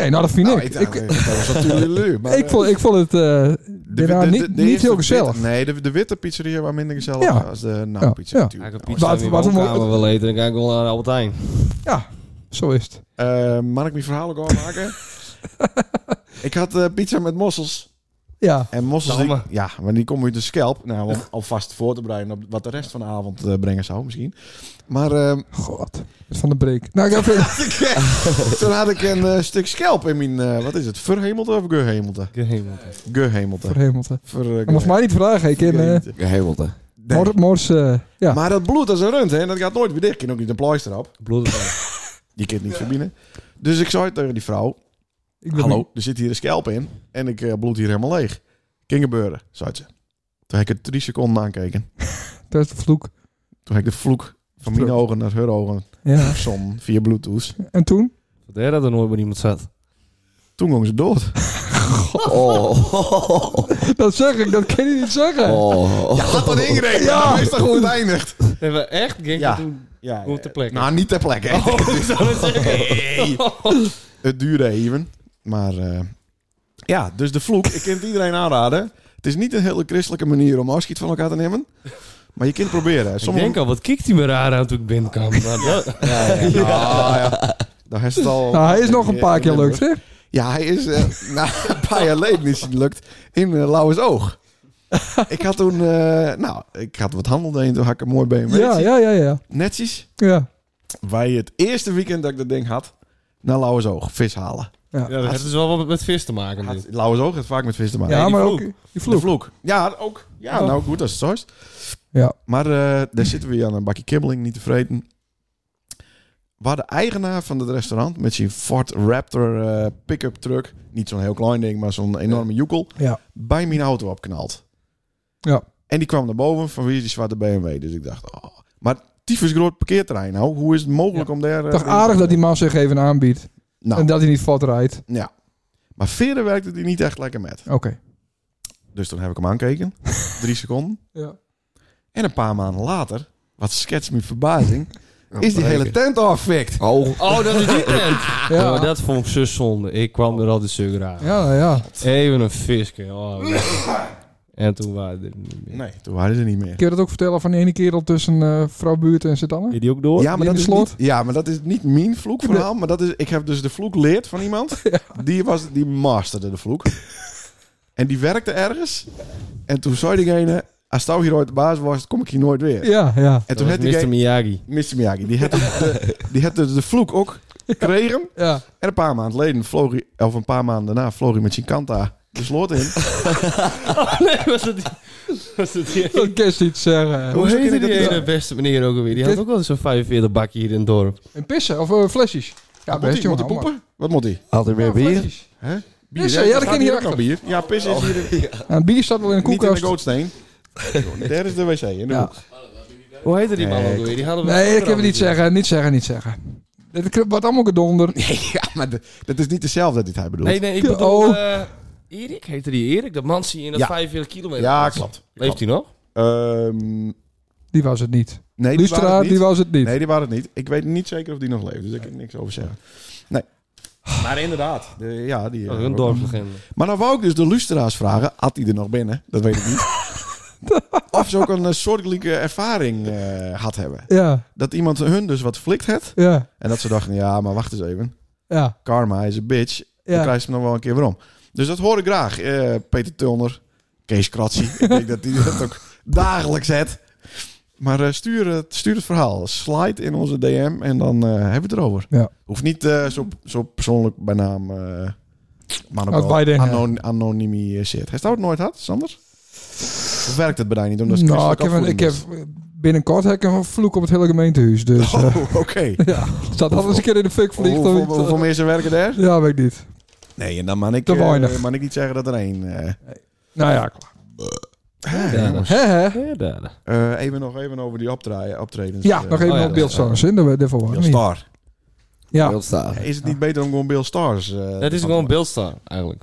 Nee, nou dat vind
Nou,
ik.
dacht,
Ik,
eh, dat was natuurlijk leuk, maar,
ik,
eh,
vond, ik vond het eh, daarna
de- de- de
niet, niet
eerste
heel
wit-
gezellig.
nee, de, de witte pizzeria was minder gezellig
Ja.
als de
Ja,
naampizzerij.
ja.
Als ik een
natuurlijk.
pizza
Wat-
in mijn
wat-
woonkamer wil eten, dan ga ik wel naar Albert Heijn.
Zo is het.
Eh, mag ik mijn verhaal ook al maken? ik had eh, pizza met mossels.
Ja,
En mossels, die-
Damme.
ja, maar die komen uit de scalp. Nou, om alvast voor te bereiden op wat de rest van de avond eh, brengen zou misschien. Maar ehm,
god. Het van de breek. Nou, ik ga verder.
toen had ik een eh, stuk scalp in mijn, eh, wat is het, verhemelte of gehemelte? Gehemelte.
Voor Hemelte.
Ver, eh,
Dat moest mij niet vragen. Ik in eh
gehemelte.
Gehemelte.
Nee.
Mor- Mors, eh, ja.
Maar dat bloed als een rund, hè? Dat gaat nooit weer dicht. Je kunt ook niet een pleister op.
Bloed.
Die kunt niet verbinden. Dus ik zei tegen die vrouw,
Ik ben-
Hallo, er zit hier een scalp in en ik eh, bloed hier helemaal leeg. Ging gebeuren, zei ze. Toen heb ik het drie seconden aankeken.
Dat is de vloek.
Toen heb ik de vloek van mijn
Terug.
ogen naar haar ogen
Ja.
som via bluetooth.
En toen?
Wat er dat er nooit bij iemand zat.
Toen ging ze dood.
Oh.
Dat zeg ik, dat kan je niet zeggen.
Oh.
Had dat ingereden?
Ja.
is toch goed eindigt?
Nee, maar echt? Ging
Ja.
ja. toen...
Ja,
Goed ter plekke.
Nou, niet ter plekke. hè.
Oh,
Nee. Het duurde even. Maar eh, ja, dus de vloek. Ik kan het iedereen aanraden. Het is niet een hele christelijke manier om afscheid van elkaar te nemen. Maar je kunt het proberen.
Ik denk al, wat kijkt hij me raar aan toen ik binnenkwam. Maar dat-
Ja, ja. Ah, ja. Dan is het al...
Nou, hij is nog een paar keer leuk, zeg.
Ja, hij is eh, na een paar jaar geleden is hij gelukt in eh, Lauwers Oog. ik had toen, eh, nou, ik had wat handel deed, toen had ik een mooi BMW.
Ja, ja, ja, ja.
Netjes.
Ja,
Wij het eerste weekend dat ik dat ding had, naar Lauwers Oog, vis halen.
ja, dat heeft dus wel wat met vis te maken.
Had,
dit.
Lauwers Oog heeft vaak met vis te maken.
ja
die
maar ook
vloek.
die
De
vloek.
vloek. Ja, ook. Ja,
Oh.
nou goed, dat is het zoist.
Ja.
Maar eh, daar zitten we hier aan een bakje kibbeling, niet te vreten. waar de eigenaar van het restaurant met zijn Ford Raptor eh, pick-up truck, niet zo'n heel klein ding, maar zo'n enorme joekel,
Ja.
bij mijn auto opknalt.
Ja.
En die kwam naar boven van wie is die zwarte BMW. Dus ik dacht, oh. maar tyfus groot parkeerterrein nou. Hoe is het mogelijk om daar... eh,
Toch aardig dat die man zich even aanbiedt.
Nou.
En dat hij niet valt rijdt.
Ja. Maar verder werkte die niet echt lekker met.
Oké.
Dus toen heb ik hem aangekeken. Drie seconden.
Ja.
En een paar maanden later, wat schets me verbazing, is die hele tent afvikt.
Oh,
Oh, dat is die tent. Ja.
Ja.
maar dat vond ik zo zonde. Ik kwam er altijd zo graag.
Ja, ja.
Even een visje. Oh, lekker. en toen waren we er niet meer.
Nee, toen waren ze niet meer.
Kun je dat ook vertellen van de ene kerel tussen eh vrouw Buurt en Zitanne?
Is die ook door?
Ja maar,
in
dat
de
is
slot?
niet, ja, maar dat is niet mijn vloekverhaal. Maar dat is, ik heb dus de vloek leerd van iemand. Die, was, die masterde de vloek. en die werkte ergens. En toen zei diegene, als Touw hier ooit de baas was, kom ik hier nooit weer.
Ja, ja.
En
Dat
toen
was
had diegene...
Mr. Miyagi.
Mr. Miyagi, die had de, die had de, de vloek ook gekregen.
Ja.
En een paar maanden geleden vloog hij, of een paar maanden daarna, vloog hij met zijn kanta de sloot in.
nee, was dat die... Was dat die...
Dat kan je niet zeggen.
Hoe
Hoe
heette
heette
die
die
ene beste meneer ook alweer? Die had ook wel zo'n 45 bakje hier in het dorp.
En pissen of eh, flesjes. Ja,
Wat moet
best
hij? Moet
jongen.
hij
hou maar.
poepen? Wat moet hij?
altijd
Ja,
meer bier.
flesjes.
Hè?
Pissen,
hè?
ja, dat
Staat
kan
hier
hier
ook al bier. Ja, pissen is hier
En bier staat wel in de
niet in de
koelkast.
gootsteen. Daar is de wc. In de
Ja.
hoek.
Hoe heette die man
Nee,
ook alweer? Die hadden we
Nee, ik
ook
heb het niet
al
zeggen. Niet zeggen, niet zeggen. Dit kri- wordt allemaal gedonder.
ja, maar de- dat is niet dezelfde dat hij bedoelt.
Nee, nee, ik bedoel...
Oh.
eh, Erik, heette die Erik? Dat man zie je in dat
Ja.
45 kilometer.
ja,
was.
klopt.
Leeft hij nog?
Ehm,
Die was het niet.
nee, die waren
Lustra,
het
die
niet.
was het niet.
Nee, die waren het niet. Ik weet niet zeker of die nog leeft, dus daar kan ik niks over zeggen. Nee. Maar inderdaad. De, ja, die, eh,
Oh, een dorpslegende.
Maar dan wou ik dus de luisteraars vragen, had hij er nog binnen? Dat weet ik niet. of ze ook een eh, soortgelijke ervaring eh, had hebben.
Ja,
Dat iemand hun dus wat flikt had.
ja,
En dat ze dachten, ja, maar wacht eens even.
ja.
Karma is een bitch. Dan
Ja.
krijg je hem nog wel een keer waarom. Dus dat hoor ik graag. Eh, Peter Tulner, Kees Kratzi. ik denk dat die dat ook dagelijks het. Maar eh, stuur, het, stuur het verhaal. Slide in onze DM en dan eh, hebben we het erover.
Ja.
Hoeft niet eh, zo, zo persoonlijk bij naam... eh maar
Wat
ook
wij
wel
denken.
anon anonimiseerd. Heeft dat ook nooit gehad, Sander? Of werkt het bij jou niet? Omdat het
Nou, ik
christelijk
heb, een- ik heb
opvoeding
binnenkort heb ik een vloek op het hele gemeentehuis. Dus eh,
is? dus. Oh, oké.
ja, staat alles een keer in de fik vliegt. of
Hoeveel,
iets.
hoeveel mensen werken daar?
Ja, weet ik niet.
Nee, en dan mag ik,
Te
eh,
weinig.
mag ik niet zeggen dat er één... eh,
Nou ja, klaar.
Dus-
Ja, dat-
Hè, hè?
ja, dat-
Eh, even nog even over die optraaien, optredens.
Ja, dus,
Eh,
nog even
oh ja,
op beeld
dat
staan. Zin, daar daarvoor
Bill
waren we niet.
Star.
Ja,
Heel staaf.
Is het niet beter om gewoon Bill Stars? eh,
Dat is
van-
gewoon Bilstar, eigenlijk.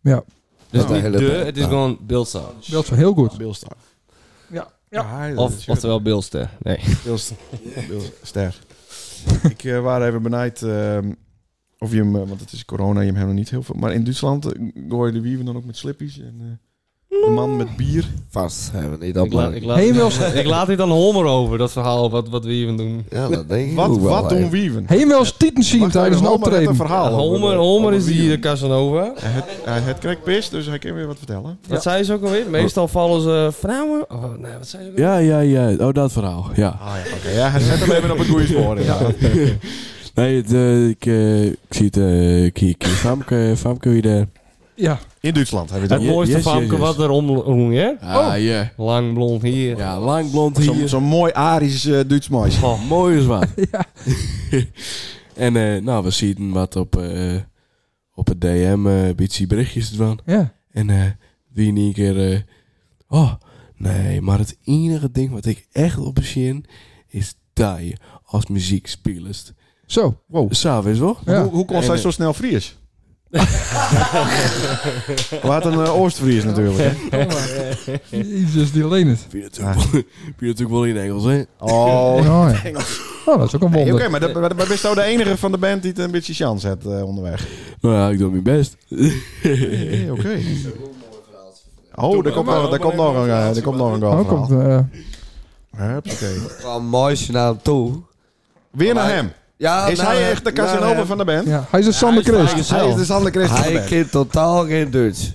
ja.
Dus
Ja.
niet
Hele Nou,
de,
tijd.
het is
Ja.
gewoon Bilstar.
Beeld zo heel goed.
Bill Star.
Ja.
hij-
Of,
shit,
oftewel Bilster. Nee.
Bill St- Bill Ster. Ik eh was even benijd ehm, of je hem, eh, want het is corona, je hem nog niet heel veel. Maar in Duitsland eh, gooien de wieven dan ook met slippies en eh, de man met bier.
Vast hebben we niet
Ik, laat, ik,
opgelegd.
laat,
Hey,
ik, laat dit aan Homer over, dat verhaal wat, wat we even doen.
Ja, dat denk ik
Wat,
ook wel
wat doen
even.
wieven?
Helemaal als tieten zien
Wacht
tijdens
even,
een
Homer heeft
optreden.
een verhaal. over- eh, over
Homer, Homer is
wieven.
hier de Casanova.
Hij het- Hij het krijgt pis, dus hij kan weer wat vertellen.
Wat zei ze ook alweer? Meestal vallen ze vrouwen. Oh, nee, wat zei ze ook alweer?
Ja, ja, ja. Oh, dat verhaal. Ja.
Ah ja, oké. Ja, hij zet hem even op het goede spoor. Ja.
Nee, het, eh, ik, eh, ik zie het. eh, ik ik- Famke, eh, Famke weer daar.
Ja.
In Duitsland hebben we
Het
dat.
Ja,
mooiste
yes,
famke
yes, yes.
wat er omroeng, hè?
Ah, ja.
Lang blond hier.
Ja, lang blond
Zo'n
hier.
zo'n mooi Arisch eh Duits meisje.
Oh,
Mooi is wat. en eh, nou, we zien wat op, eh, op het DM, eh een beetje berichtjes ervan.
Ja.
En eh die in één keer... eh, oh, nee, maar het enige ding wat ik echt op bezin is dat je als muziek speelt.
Zo.
Wow.
S'avonds, hoor.
Ja.
Hoe, hoe kon
En,
zij
eh,
zo snel Fries? Laat een uh, Oostfries natuurlijk. Hè?
Jezus, die leent het.
Vind je natuurlijk wel- vind je natuurlijk wel in Engels, hè?
Oh.
Oh, ja. oh, dat is ook een
Hey, Oké,
wonder.
maar dat- maar ben je nou de enige van de band die het een beetje chance had eh, onderweg?
Nou ja, ik doe mijn best.
Hey, Oké. Oh, daar komt nog, daar komt nog een, eh, daar komt nog een
Oh,
goal
komt,
verhaal.
eh,
Huppakee.
Ik kwam mooi naar hem toe.
Weer naar hem.
Ja,
Is
nou,
hij echt de
nou,
Casanova
hem.
van de band?
ja. Hij is een Sander Christ.
Hij is de Sander Christ van de
Hij
band.
kent totaal geen Duits. Dus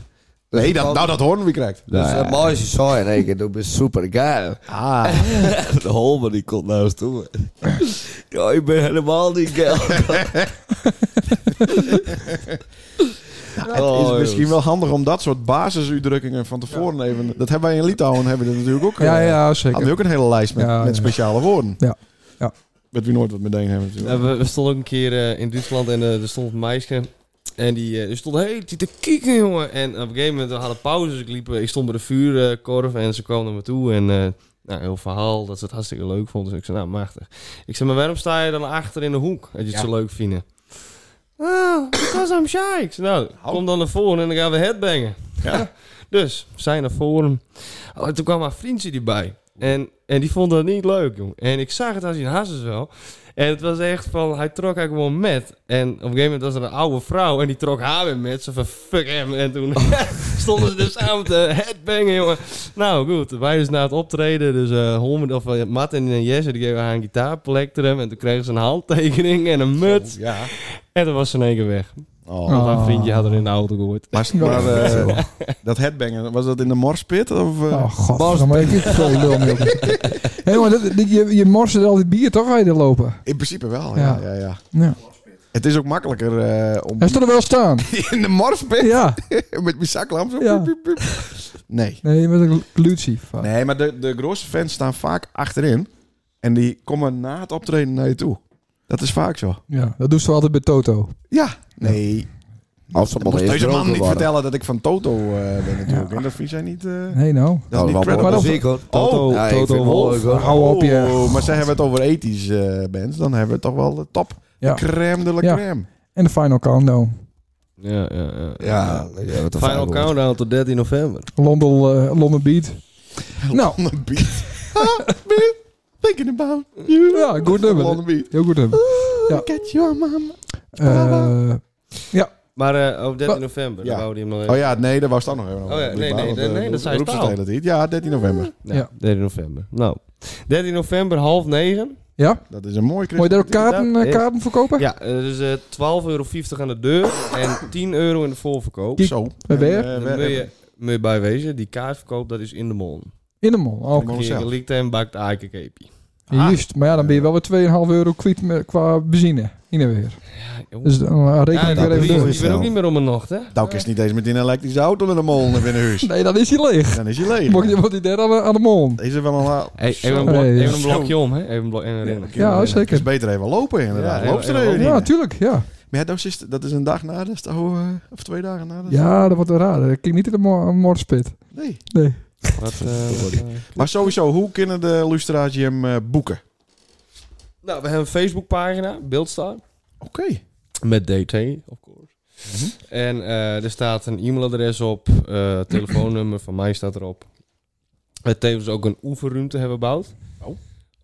Nee, dat, nou dat horen we krijgt.
Dus dat mooie zei in één keer, doe bent super geil.
Ah.
De Holman die komt naar ons toe. ja, ik ben helemaal niet geil. Oh,
Het
Oh,
is misschien wel handig om dat soort basisuitdrukkingen van tevoren even... Dat hebben wij in Litouwen hebben we dat natuurlijk ook.
Ja,
eh,
ja,
Hadden we
zeker.
ook een hele lijst met,
Ja,
met
ja.
speciale woorden.
Ja, ja.
Dat we nooit wat meteen hebben
Ja,
natuurlijk.
we, we stonden ook een keer eh, in Duitsland en eh, er stond een meisje. En die, eh, die stond heel die te kieken, jongen. En op een gegeven moment we hadden pauze. Dus ik, liep, eh, ik stond bij de vuurkorf en ze kwam naar me toe. En eh nou, heel verhaal dat ze het hartstikke leuk vond. Dus ik zei, nou, machtig. Ik zei, maar waarom sta je dan achter in de hoek als je het zo leuk vindt? Ah, because I'm shy. Ik zei, nou, kom dan naar voren en dan gaan we headbangen.
Ja.
dus, we zijn naar voren. Oh, en toen kwam haar vriendje erbij. En, en die vond dat niet leuk, jong. En ik zag het als hij haast wel. En het was echt van, hij trok haar gewoon met. En op een gegeven moment was er een oude vrouw en die trok haar weer met. Ze van, fuck hem. En toen stonden ze dus samen te headbangen, jongen. Nou goed, wij dus na het optreden, dus eh Holmen, of eh, Martin en Jesse, die geven haar een gitaarplectrum. En toen kregen ze een handtekening en een muts.
Ja.
En toen was ze in één keer weg.
Oh.
Oh.
Want haar vriendje had er in de auto gehoord.
Maar, maar eh, dat headbangen, was dat in de morspit? Of, eh?
Oh, god. Maar ik heb veel lul mee op. Hé, jongen, dat- dat- je, je morst er al dit bier toch uit te lopen.
In principe wel, ja.
Ja.
ja. ja,
Ja.
Het is ook makkelijker eh, om
Hij stond er wel staan.
in de morspit
Ja.
met mijn zaklamp. zo,
Ja.
piep, piep, piep. Nee.
Nee, met een lutie. Fuck.
Nee, maar de, de grootste fans staan vaak achterin. En die komen na het optreden naar je toe. Dat is vaak zo.
Ja, dat doen ze altijd bij Toto.
Ja. Nee.
Als ze
Dat
maar
moest
eens
deze man
dronken
niet
worden.
vertellen dat ik van Toto eh, ben natuurlijk. En dat vind jij niet... eh,
Nee, nou.
dat is
Nou,
niet credible.
dat
Maar
wel
dat-
muziek hoor.
Toto,
Oh. Ja, ik vind
Oh, Toto
het wel leuk,
Wolf.
hoor.
Hou op, je.
Oh, maar zij hebben het over ethisch eh bands. Dan hebben we toch wel de top.
Ja.
De crème de la
Ja.
crème.
En de Final Countdown.
Ja, ja, ja.
Ja, ik heb het al vaak
Final
gehoord.
countdown tot 13 november.
Londen, eh, Londen Beat. Nou,
London Beat. Ah, man, thinking about you.
Ja, goed nummer.
London Beat.
heel goed nummer. Ja.
Catch your mama.
Eh,
Maar eh, op 13
Wa-
november,
Ja.
dan wou die hem nog even.
Oh ja, nee, daar was dan nog even eh,
Oh ja, nee, nee, nee, nee, dat zei Staal.
dat niet. Ja, 13 november.
Ja,
Ja.
13 november. Nou, 13 november, half negen.
ja,
Dat is een mooi
moet je daar ook
christelijk-
kaarten, eh, kaarten verkopen?
Ja, eh, dus eh 12,50 euro aan de deur en 10 euro in de voorverkoop.
Die-
Zo.
Bij weer?
En,
Dan
eh,
moet
we-
je, moet je bijwezen, die kaartverkoop, dat is in de mol.
In de mol. Oh,
In de mol.
Als je
zelf.
gelikt en bakt eikenkeepje.
Ah.
Juist, maar ja, dan ben je wel weer 2,5 euro kwijt met- qua benzine. In en weer. Dus dan eh, reken ik
Ja,
weer
die-
even
die-
door.
die ben ook niet meer om een nacht, hè?
Nou, ik is niet eens met die elektrische auto met een molen naar binnen huis.
Nee, dan is hij leeg.
Dan is hij leeg.
Moet je moet die derde aan de, aan de mol.
Deze wel een la-
Hey,
Zo.
even, een
blok-
blok-
Nee,
even een
zo.
blokje om, hè? Even een blok- en
Ja,
rennen.
Ja, oh,
dan
zeker.
is beter even lopen inderdaad.
Ja,
Loopt er
even
even
lopen.
Ja,
niet.
tuurlijk, ja.
Maar ja, dat is, dat is een dag na de sto, eh, of twee dagen na de
Ja, dat wordt wel raar. Dat kijk niet in de mo- morspit.
Nee.
Nee.
Wat, eh, wat, eh.
Maar sowieso, hoe kunnen de lustra's hem eh, boeken?
Nou, we hebben een Facebookpagina, Beeldstar.
Oké.
Met DT, of course. En eh, er staat een e-mailadres op, eh, telefoonnummer van mij staat erop. We tevens ook een oefenruimte hebben gebouwd.
Oh.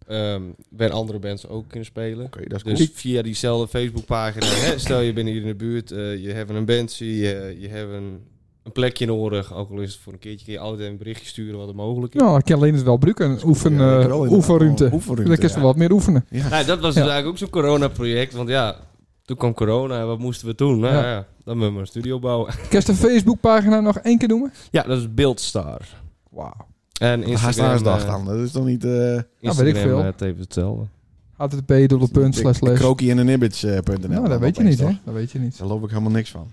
Ehm, waar andere bands ook kunnen spelen.
Oké, dat is
Dus via diezelfde Facebookpagina, hè, stel je bent hier in de buurt, eh, je hebt een bandje, je, je hebt een, een plekje nodig, ook al is het voor een keertje, kun je altijd een berichtje sturen wat er mogelijk is.
Nou, ik kan alleen het wel gebruiken. Een Oefen,
Ja, ik
eh,
wel inderdaad.
oefenruimte.
Oefenruimte,
Dan kun je
ja.
wel wat meer oefenen.
Nou, dat was
Ja.
dus eigenlijk ook zo'n corona-project, want ja, toen kwam corona en wat moesten we toen? Nou,
Ja.
ja. dan moeten we een studio bouwen.
Kun je de Facebookpagina nog één keer noemen?
Ja, dat is Beeldstar.
Wauw.
En Instagram,
Haastnaars dag
eh,
dan. Dat is toch niet... eh
Ja, weet ik
Instagram,
veel.
eh, tevens hetzelfde.
http dubbele punt slash slash.
Krokie en een ibbits.nl.
Nou, dat weet je niet, hè? Dat weet je niet.
Daar loop ik helemaal niks van.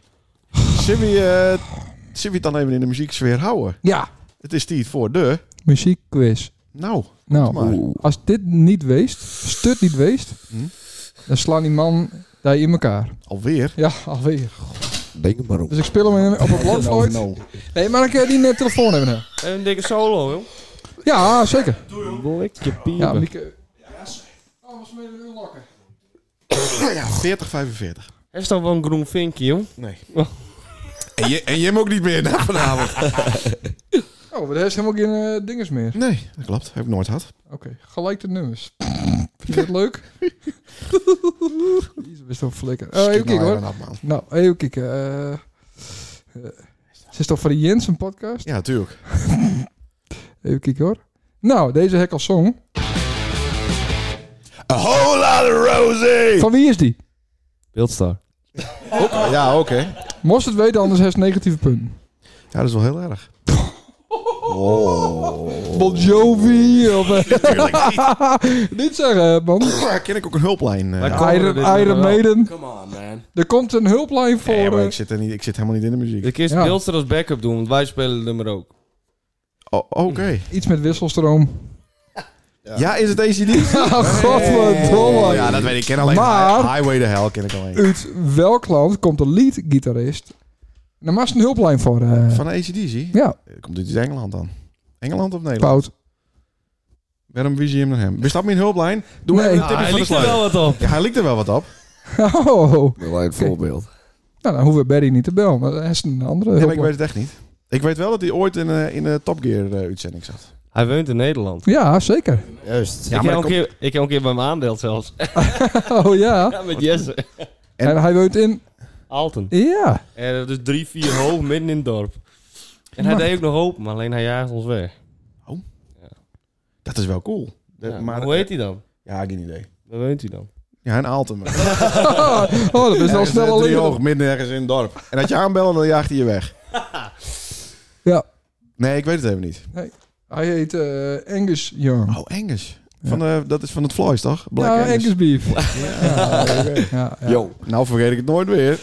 Zullen we, eh, zullen we het dan even in de muzieksfeer houden?
Ja,
Het is tijd voor de...
muziekquiz.
Nou,
Nou,
maar.
als dit niet weest, stut niet weest,
Hm?
dan slaan die man daar in elkaar.
Alweer?
Ja, alweer.
Denk er maar op.
Dus ik speel hem in- op een blokfluit. Nee, maar ik kan die net telefoon hebben. nou.
En een dikke solo, joh.
Ja, zeker.
Blikje
Ja,
piepen.
Mieke. Oh, was met een lokken.
Ja, 40, 45.
Hij is dan wel een groen vinkje, joh.
Nee.
Oh.
En je, en je hem ook niet meer na vanavond.
Oh, maar er is helemaal geen eh, dinges meer.
Nee, dat klopt. Heb ik nooit gehad.
Oké, gelijk de nummers. Vind je dat leuk? Jezus, best wel flikker.
Eh,
Oh, even kijken hoor. Nou, even kijken. eh eh, Ze is toch van de Jensen podcast?
Ja, tuurlijk.
Even kijken hoor. Nou, deze Hekkel Song.
A whole lot of rosé!
Van wie is die?
Beeldstar.
Ja, oké.
Moest het weten, anders heeft negatieve punten.
Ja, dat is wel heel erg.
Bon Jovi of... eh, Niet zeggen, man.
Ken ik ook een hulplijn? eh,
Maar
ja.
kan-
Iron,
dit nog
Iron
wel.
Maiden.
Come on, man.
Er komt een hulplijn voor...
Nee, maar
eh,
ik zit, er niet, ik zit helemaal niet in de muziek.
Ik eerst
Ja.
Beeldstar als backup Ah, doen, want wij spelen het nummer ook.
Oh, oké.
iets met wisselstroom.
Ja, is het ACD?
Ah, godverdomme.
Ja, dat weet ik. Ik ken alleen
Maar-
Hi- Highway to Hell ken ik alleen.
Uit welk land komt de lead-gitarist? Daar mag een hulplijn voor. eh
Van de ACDC?
ja,
Eh, Komt dit uit Engeland dan? Engeland of Nederland?
Pout.
Waarom wie je hem naar hem? Bestaat me een hulplijn? Doe
Nee.
even een
Ah,
tipje
hij
van de
liet er
sluier.
wel wat op.
Ja, hij likt er wel wat op.
Oh, nou,
Dat was een voorbeeld.
dan hoeven we Barry niet te bellen. Maar hij is een andere
Ja, maar ik
hulplijn.
weet het echt niet. Ik weet wel dat hij ooit in, eh, in de Top Gear eh, uitzending zat.
Hij woont in Nederland.
Ja, zeker.
Juist.
ik,
maar
heb
dat
een keer, ik heb een keer bij hem aandeeld zelfs.
Oh ja.
Ja, met Jesse.
En, hij woont in...
Alten.
Ja.
En dat is drie, vier hoog midden in het dorp. En hij
Man.
deed ook nog open, maar alleen hij jaagt ons weg.
Dat is wel cool. De-
Ja,
maar,
hoe heet hij dan?
Ja, geen idee.
Waar woont hij dan?
Ja, in Aalten.
Oh, dat is al
Ergens, eh,
snel
drie
alleen.
hoog, midden ergens in het dorp. En als je aanbellen, dan jaagt hij je weg.
Ja.
Nee, ik weet het even niet.
Hij heet eh Angus Young.
Oh, Engels. Van de, dat is van het Floyds, toch? Black
ja,
Angus.
Angus Beef. Ja, ja, ja.
Yo.
Nou vergeet ik het nooit weer.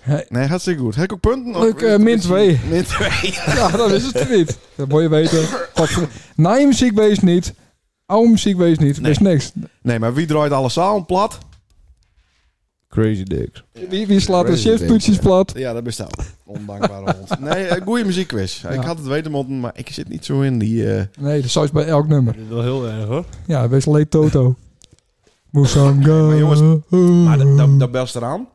Hey.
Nee, hartstikke goed. Heb ik ook punten? Of
Leuk,
is het
eh, min
misschien-
twee.
Min twee.
Ja, dat is het niet. Dat moet je weten. Godver- Naam ziek wees niet. Oom ziek wees niet.
Nee.
Wees niks.
Nee, maar wie draait alles samen plat?
Crazy Dicks.
Wie, wie slaat de
Crazy
shiftputjes
ding,
plat?
Ja, dat bestaat. Ondankbare hond. Nee, eh, goeie muziekquiz.
Ja.
Ik had het weten moeten, maar ik zit niet zo in die... eh,
Nee, dat zou je bij elk nummer.
Dat is wel heel erg hoor.
Ja, wees leed Toto. Moesanga.
Maar jongens, Maar dat- dat, dat belst eraan.
Mm.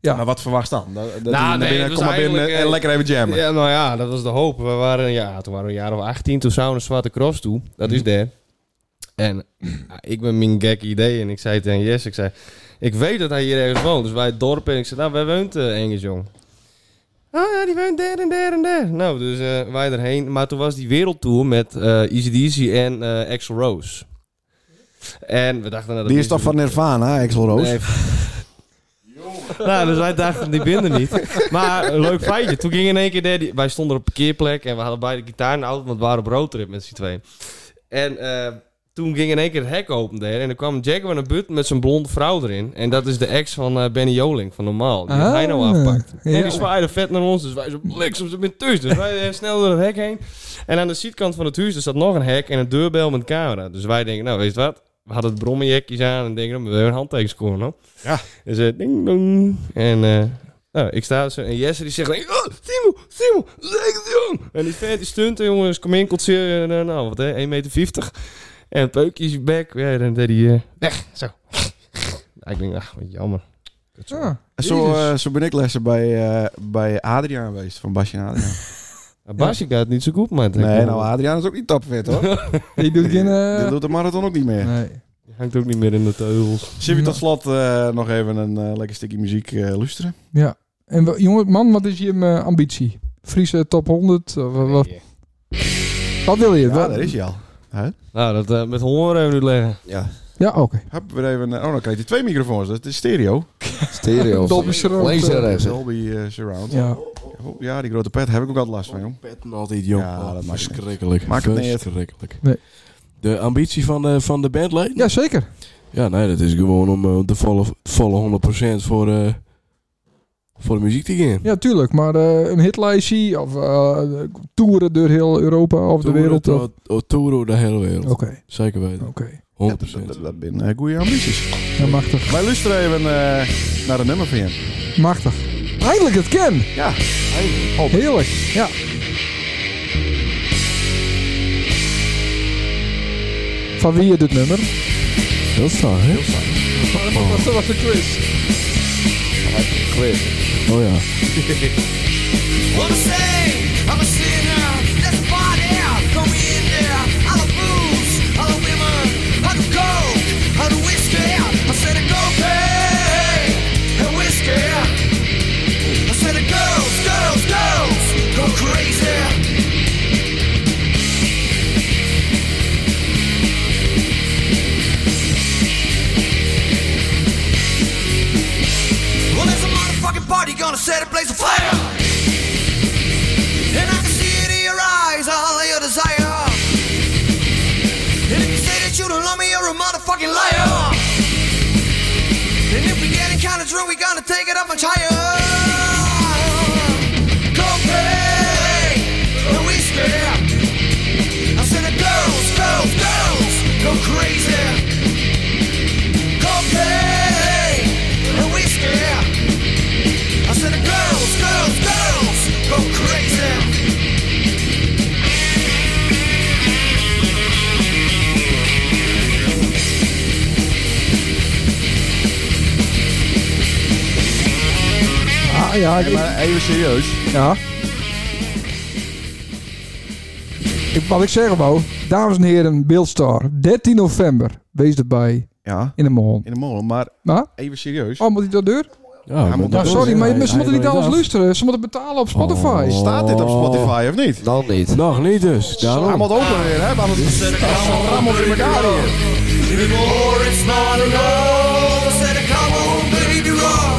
Ja.
Maar wat verwacht dan? Dat, dat
Nou,
die naar
nee,
binnen-
het was
kom maar binnen en
eigenlijk, eh,
lekker even jammen.
Ja, nou ja, dat was de hoop. We waren, ja, toen waren we een jaar of 18, toen zouden we naar Zwarte Cross toe. Dat
Mhm.
is daar. En ja, ik ben mijn gek idee en ik zei tegen Jess, ik zei, ik weet dat hij hier ergens woont. Dus wij het dorp en ik zei, nou, wij woont eh Engels, jong. Oh ja, die woont daar en daar en daar. Nou, dus eh, wij erheen. Maar toen was die wereldtour met eh Easy Deasy en eh Axel Rose. En we dachten... Nou, dat
Die is toch van Nirvana, Axel Roos?
Nee. nou, dus wij dachten, die binden niet. Maar een leuk feitje. Toen ging in één keer... daar die- wij stonden op een parkeerplek en we hadden beide gitaar in de auto, want we waren op roadtrip met z'n tweeën. En eh, toen ging in één keer het hek open daar en er kwam Jack van een but met zijn blonde vrouw erin. En dat is de ex van eh, Benny Joling, van Normaal. Die
Ah.
heeft hij nou afpakt. En die zwaaide vet naar ons, dus wij zo bliksem, ze bent thuis. Dus wij eh, snel door het hek heen. En aan de zijkant van het huis er staat nog een hek en een deurbel met camera. Dus wij denken, nou, weet je wat? We hadden het brommenjekjes aan en denken, nou, we hebben een handtekenscore, no?
Ja.
Dus eh, ding dong. En eh, nou, ik sta zo en Jesse die zegt, oh, Timo, Timo, lekker jong. En die vent die stunt, jongens, kom in, kotseer. En, eh, nou, wat hè, 1,50 meter. En het peukje is back. Ja, dan deed hij eh, weg, zo. Ja, ik denk, ach, wat jammer.
Ja,
Zo,
Jezus.
eh, zo ben ik lessen bij, eh, bij Adriaan geweest, van Basje en Adriaan.
Nou, Basje gaat het niet zo goed, maar...
nee, nou Adriaan is ook niet topfit hoor.
die doet geen... eh,
Die doet de marathon ook niet meer.
nee.
Hangt ook niet meer in de teugels.
Zullen we tot slot eh, nog even een eh, lekker stukje muziek eh luisteren?
Ja. En wa- jongen, man, wat is je eh, ambitie? Friese top 100? Of, eh, wat, wat wil je?
Ja,
Wat-
daar is hij al.
Nou, dat eh, met honger hebben we nu leggen.
Ja.
Ja, oké.
Heb weer even, eh, oh, dan krijgt hij twee microfoons. Dat is stereo.
Stereo.
Dolby surround,
Laser
eh,
rechts.
Dolby eh, Surround. Ja.
Ja.
ja, die grote pet heb ik ook altijd last van, joh.
Pet altijd, joh.
Ja, dat maakt niet.
verschrikkelijk.
Maakt het niet uit.
verschrikkelijk.
Nee.
De ambitie van de, van de bandleden?
ja, zeker.
Ja, nee, dat is gewoon om eh, de volle, volle 100% voor, eh, voor de muziek te gaan.
Ja, tuurlijk. Maar eh, een hitlijstje of eh, toeren door heel Europa of de
Toeren,
wereld. Oh. of-
to- to- Toeren de hele wereld.
Oké,
Zeker weten.
oké.
100%.
Ja, dat, dat, dat zijn eh, goede ambities.
Ja, machtig.
Wij luisteren even eh, naar een nummer van je.
Machtig. Eindelijk het ken.
Ja,
Heerlijk. Ja. Van wie je dit nummer?
Heel saai, hè?
Dat was de quiz.
Oh ja.
Wanna say, I'm a sinner, that's a body, throw me in there. I love booze, I love women, I love coke, I love whiskey. I said a go pay, and whiskey. I said a girls, girls, girls, go crazy. Well, there's a motherfucking party gonna set a place afire. And I can see it in your
Ah, ja,
Nee,
ik,
maar even serieus.
ja. Ik, wat ik zeggen wou, dames en heren, Beeldstar, 13 november, wees erbij
Ja,
in de mol.
in de molen, maar
Maar,
even serieus.
oh, moet ik dat deur?
Ja,
moet
Ja,
dat
sorry,
is,
maar
hij-
ze moeten niet alles luisteren. Ze moeten betalen op Spotify.
Staat dit op Spotify of niet?
Dan niet.
Nog niet dus.
Hij
Daarom.
moet open weer, hè? Maar anders rammelt in elkaar hier.
Give me more, it's not enough. I said, come on, baby, rock.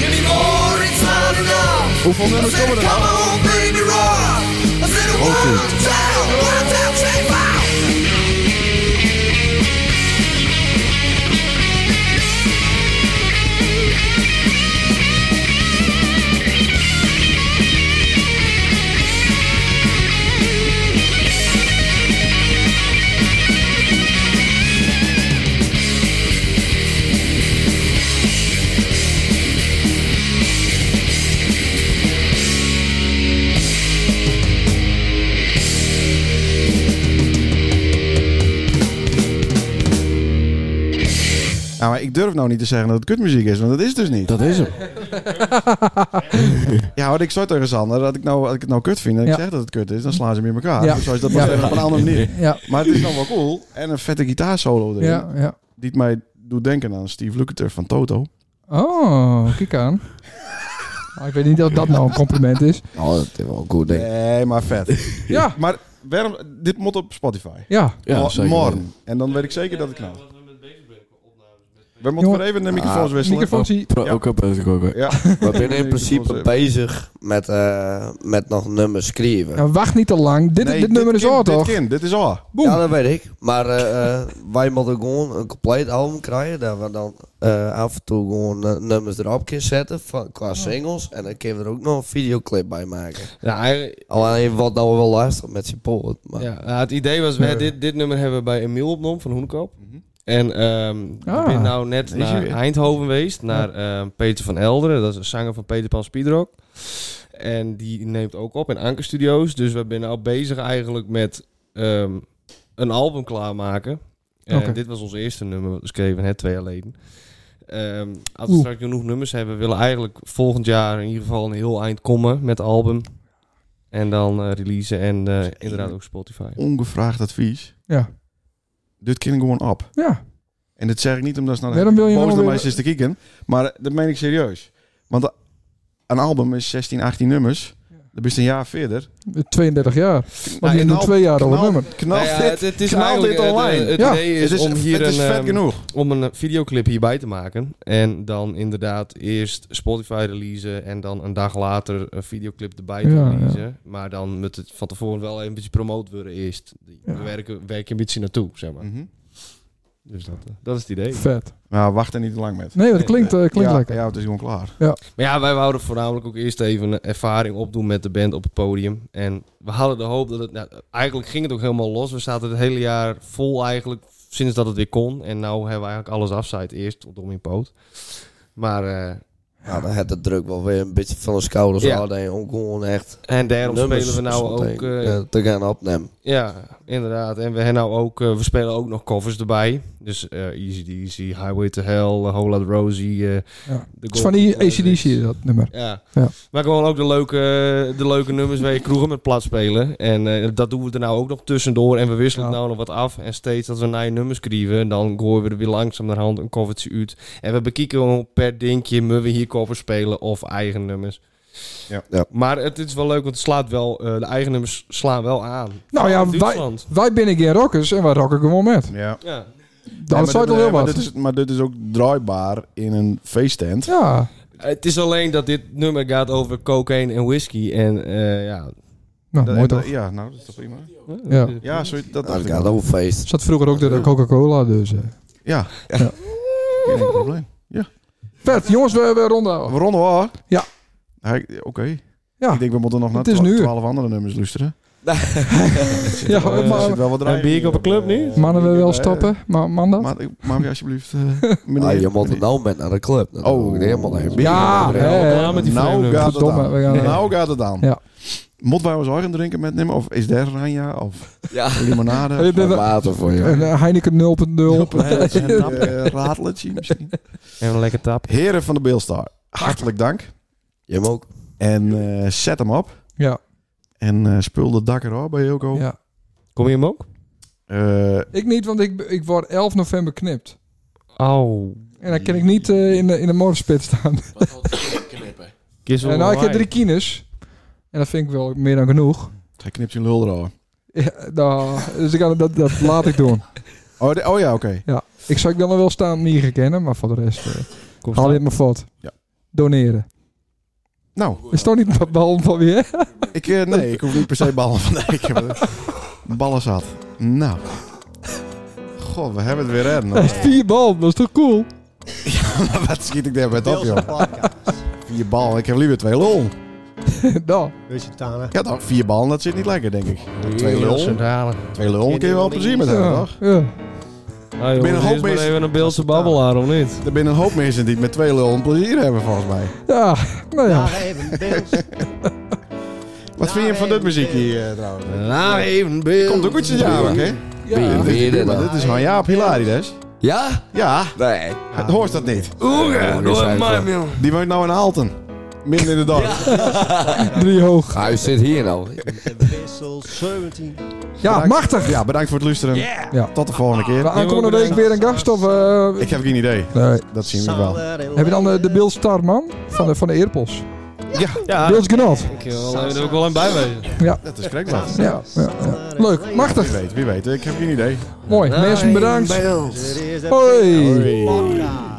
Give me more, it's not enough.
Hoeveel
I
nummers
said,
komen er
come
nou?
on, baby, rock. I said, one, two, one, two, three, four.
Nou, maar ik durf nou niet te zeggen dat het kutmuziek is, want dat is het dus niet.
Dat is hem.
Ja, want ik zou tegen Sander dat ik, nou, als ik het nou kut vind en ik
Ja.
zeg dat het kut is, dan slaan ze hem in elkaar.
Ja.
Dus Zoals dat maar
Ja.
zeggen, op een andere manier.
Ja,
Maar het is dan wel cool. En een vette gitaarsolo erin.
ja, ja.
Die het mij doet denken aan Steve Lukather van Toto.
Oh, kijk aan. Maar ik weet niet of dat nou een compliment is.
Oh, dat is wel een goed ding.
Nee, maar vet.
Ja,
Maar waarom, dit moet op Spotify.
ja.
Ja,
Mo-
zeker.
morgen. En dan weet ik zeker dat het knalt. We moeten
Jongen.
weer even de microfoons
Ah.
wisselen.
Microfoontje.
Pro- Ook op eh, ik ook.
Ja.
We zijn in principe
Microfoons, eh.
bezig met, eh, met nog nummers schrijven.
Nou, wacht niet te lang. Dit,
Nee,
dit nummer is
kind-
al toch?
Dit kind, dit is al.
Boem.
Ja, dat weet ik. Maar eh, eh, wij moeten gewoon een compleet album krijgen. Dat we dan eh, af en toe gewoon eh, nummers erop kunnen zetten van, qua singles. En dan kunnen we er ook nog een videoclip bij maken.
Ja, eigenlijk-
Alleen wat nou wel lastig met support. Maar
ja, nou, het idee was, we, dit, dit nummer hebben we bij Emiel opgenomen van Hoenkoop. En ehm
Ah,
ik ben nou net
daar is hij
naar
weer.
Eindhoven geweest, naar ehm, Peter van Elderen. Dat is een zanger van Peter Pan Speedrock. En die neemt ook op in Anker Studios. Dus we zijn nou bezig eigenlijk met ehm, een album klaarmaken. En
Oké.
dit was ons eerste nummer, wat we schreven net twee jaar geleden. Ehm, als we
Oeh.
straks genoeg nummers hebben, willen we eigenlijk volgend jaar in ieder geval een heel eind komen met het album. En dan eh, releasen en eh, inderdaad ook Spotify.
Ongevraagd advies.
Ja.
Dit kind gewoon op.
Ja.
En dat zeg ik niet omdat ze naar
Waarom wil je
boos
nou
naar
weer-
mij zitten kijken. Maar dat meen ik serieus. Want een album is 16, 18 nummers. Dan ben je een jaar verder.
32 jaar. Want
Nou,
die doen
knal-
twee jaar over
knal-
nummer.
Knal
Nou ja,
dit.
het, het is
knal
eigenlijk,
dit
eh, de-
online.
Het
Ja.
idee is,
het is,
om hier
het is
een,
vet
ehm,
genoeg.
om een eh, videoclip hierbij te maken. En dan inderdaad eerst Spotify releasen en dan een dag later een videoclip erbij te
Ja, ja.
releasen. Maar dan moet het van tevoren wel een beetje promoot worden eerst. We
Ja.
werken, werk je een beetje naartoe, zeg maar.
Mhm.
Dus dat, eh, dat is het idee.
Vet.
Nou, wacht er niet te lang met.
Nee, dat klinkt, eh, klinkt
ja,
lekker.
Ja, het is gewoon klaar.
Maar ja, wij wouden voornamelijk ook eerst even een ervaring opdoen met de band op het podium. En we hadden de hoop dat het... Nou, eigenlijk ging het ook helemaal los. We zaten het hele jaar vol eigenlijk, sinds dat het weer kon. En nou hebben we eigenlijk alles afzijt eerst tot om in poot. Maar, eh,
ja, dan had de druk wel weer een beetje van de schouders
Ja.
houden. En ook gewoon echt
en daarom
nummers
spelen we nou
zometeen,
ook... eh,
eh, te gaan opnemen.
Ja, inderdaad. En we, hebben nou ook, eh, we spelen ook nog covers erbij. Dus eh, Easy Easy, Highway to Hell, eh, Whole Lotta Rosie. eh
Ja.
The
Het is van die
Golden
ACDC
Classics.
dat nummer.
Ja.
Ja.
maar gewoon ook de leuke, de leuke nummers waar je kroegen met plat spelen. En eh, dat doen we er nou ook nog tussendoor. En we wisselen het
Ja.
nou nog wat af. En steeds als we naar je nummers schrijven, dan gooien we er weer langzaam naar hand een covertje uit. En we bekijken gewoon per dingetje, moeten we hier covers spelen of eigen nummers.
Ja.
Ja.
Maar het is wel leuk, want het slaat wel, eh, de eigen nummers slaan wel aan.
Nou ja,
In
wij,
Duitsland.
wij binnen geen rockers en wij rocken gewoon met.
Ja.
Ja.
Dat
Nee,
is al
dit-
heel
nee, maar
wat.
dit is- Maar dit is ook draaibaar in een feesttent.
Ja,
Het is alleen dat dit nummer gaat over cocaïne en whisky. En eh, ja.
nou,
Dat-
mooi
dat-
toch.
Ja, nou, dat is toch prima.
Ja.
Ja, sorry, dat
Nou,
Dat
dacht ik
gaat
wel.
ook feest.
Zat vroeger ook de Coca-Cola, dus. eh.
Ja. ja. Geen probleem.
Vet, jongens, we, we ronden af.
We ronden wel. hoor.
Ja.
Ja, ik- Oké.
Ja.
Ik denk we moeten nog naar
Het is nu.
12 andere nummers luisteren.
Ja,
Er zit
maar,
wel wat
Een bier op een club nu?
mannen, we wel
stappen.
stoppen. Maar man dat?
Maar maak je alsjeblieft. eh,
Ah,
meneer.
je moet er nou met naar de club. Dan
Oh.
moet ik er helemaal heen.
Ah,
Ja, hè.
klaar met die vreemde
nou gaat het
Verdomme,
aan.
we gaan-
nou gaat het aan.
Ja.
Moeten wij ons eigen drinken metnemen? Of is daar oranje? Of
Ja.
limonade?
Hey,
Of
ben-
Water
oh,
voor je.
Een eh, Heineken 0.0.
een rateletje Eh, misschien?
En een lekker tap.
Heren van de Beelstar, hartelijk dank.
Jim ook.
En eh, zet hem op.
Ja,
En eh spul de dak erop bij Joko.
ja.
Kom je hem ook?
Eh,
Ik niet, want ik, ik word 11 november knipt.
Oh.
En dan kan ik niet eh, in de, in de morgenspit staan.
Wat valt er knippen?
Kies
En nou, ik heb drie kines. En dat vind ik wel meer dan genoeg.
hij knipt zijn lul erover.
Ja, nou, dus ik, ga- dat, dat laat ik doen.
Oh, de- oh ja, oké.
Ik zou ik dan wel staan niet herkennen, maar voor de rest... eh,
Kom
Haal
staan.
dit maar vlot.
Ja.
Doneren.
Nou,
Is toch niet bal van weer?
ik, eh, nee, ik hoef niet per se ballen van nee, ik heb er- ballen zat. Nou. Goh, we hebben het weer redden. hoor.
Vier bal, dat is toch cool?
Wat schiet ik daar met op,
Deels
joh?
podcast.
Vier bal, ik heb liever twee lul.
nou,
Weet je, Tana.
Ja, toch? Vier ballen, dat zit niet lekker, denk ik. Twee lul.
halen.
Twee lul kun je wel plezier met hebben,
ja,
toch?
ja.
Ah,
ben een hoop
jongens, eerst maar
mensen-
even een beeldse babbelaar, of niet?
Er zijn een hoop mensen die het met twee lul plezier hebben, volgens mij.
Ja, nou ja.
Daar even Bills.
Wat vind je van dit muziekje eh, trouwens?
Nou, even beeld.
Komt ook iets in jou, hè?
ja.
Wie je dit
Maar
dan?
dit is van Jaap Hilarides.
Ja? Oh
Ja,
Nee.
het hoort dat niet.
Oeh, nooit maar, man.
Die woont nou in Alten. Midden in de dorp.
Drie hoog.
Hij eh, zit hier nou.
Wissel 17.
Ja, machtig.
Ja, bedankt voor het luisteren.
Ja.
Tot de volgende
We
keer.
aankomende week weer een gast of... eh,
Ik heb geen idee.
nee.
Dat zien we wel.
Heb je dan eh, de Bill Star, man? Van, de- van de Eerpels.
Ja,
Bills Genot.
ik wil er ook wel aan bijwezen.
Dat is krekblad.
Ja, ja, ja. Leuk,
Wie
machtig.
weet, wie weet. Ik heb geen idee.
Mooi. Mensen, bedankt.
Dit is de
Hoi.
Bills podcast.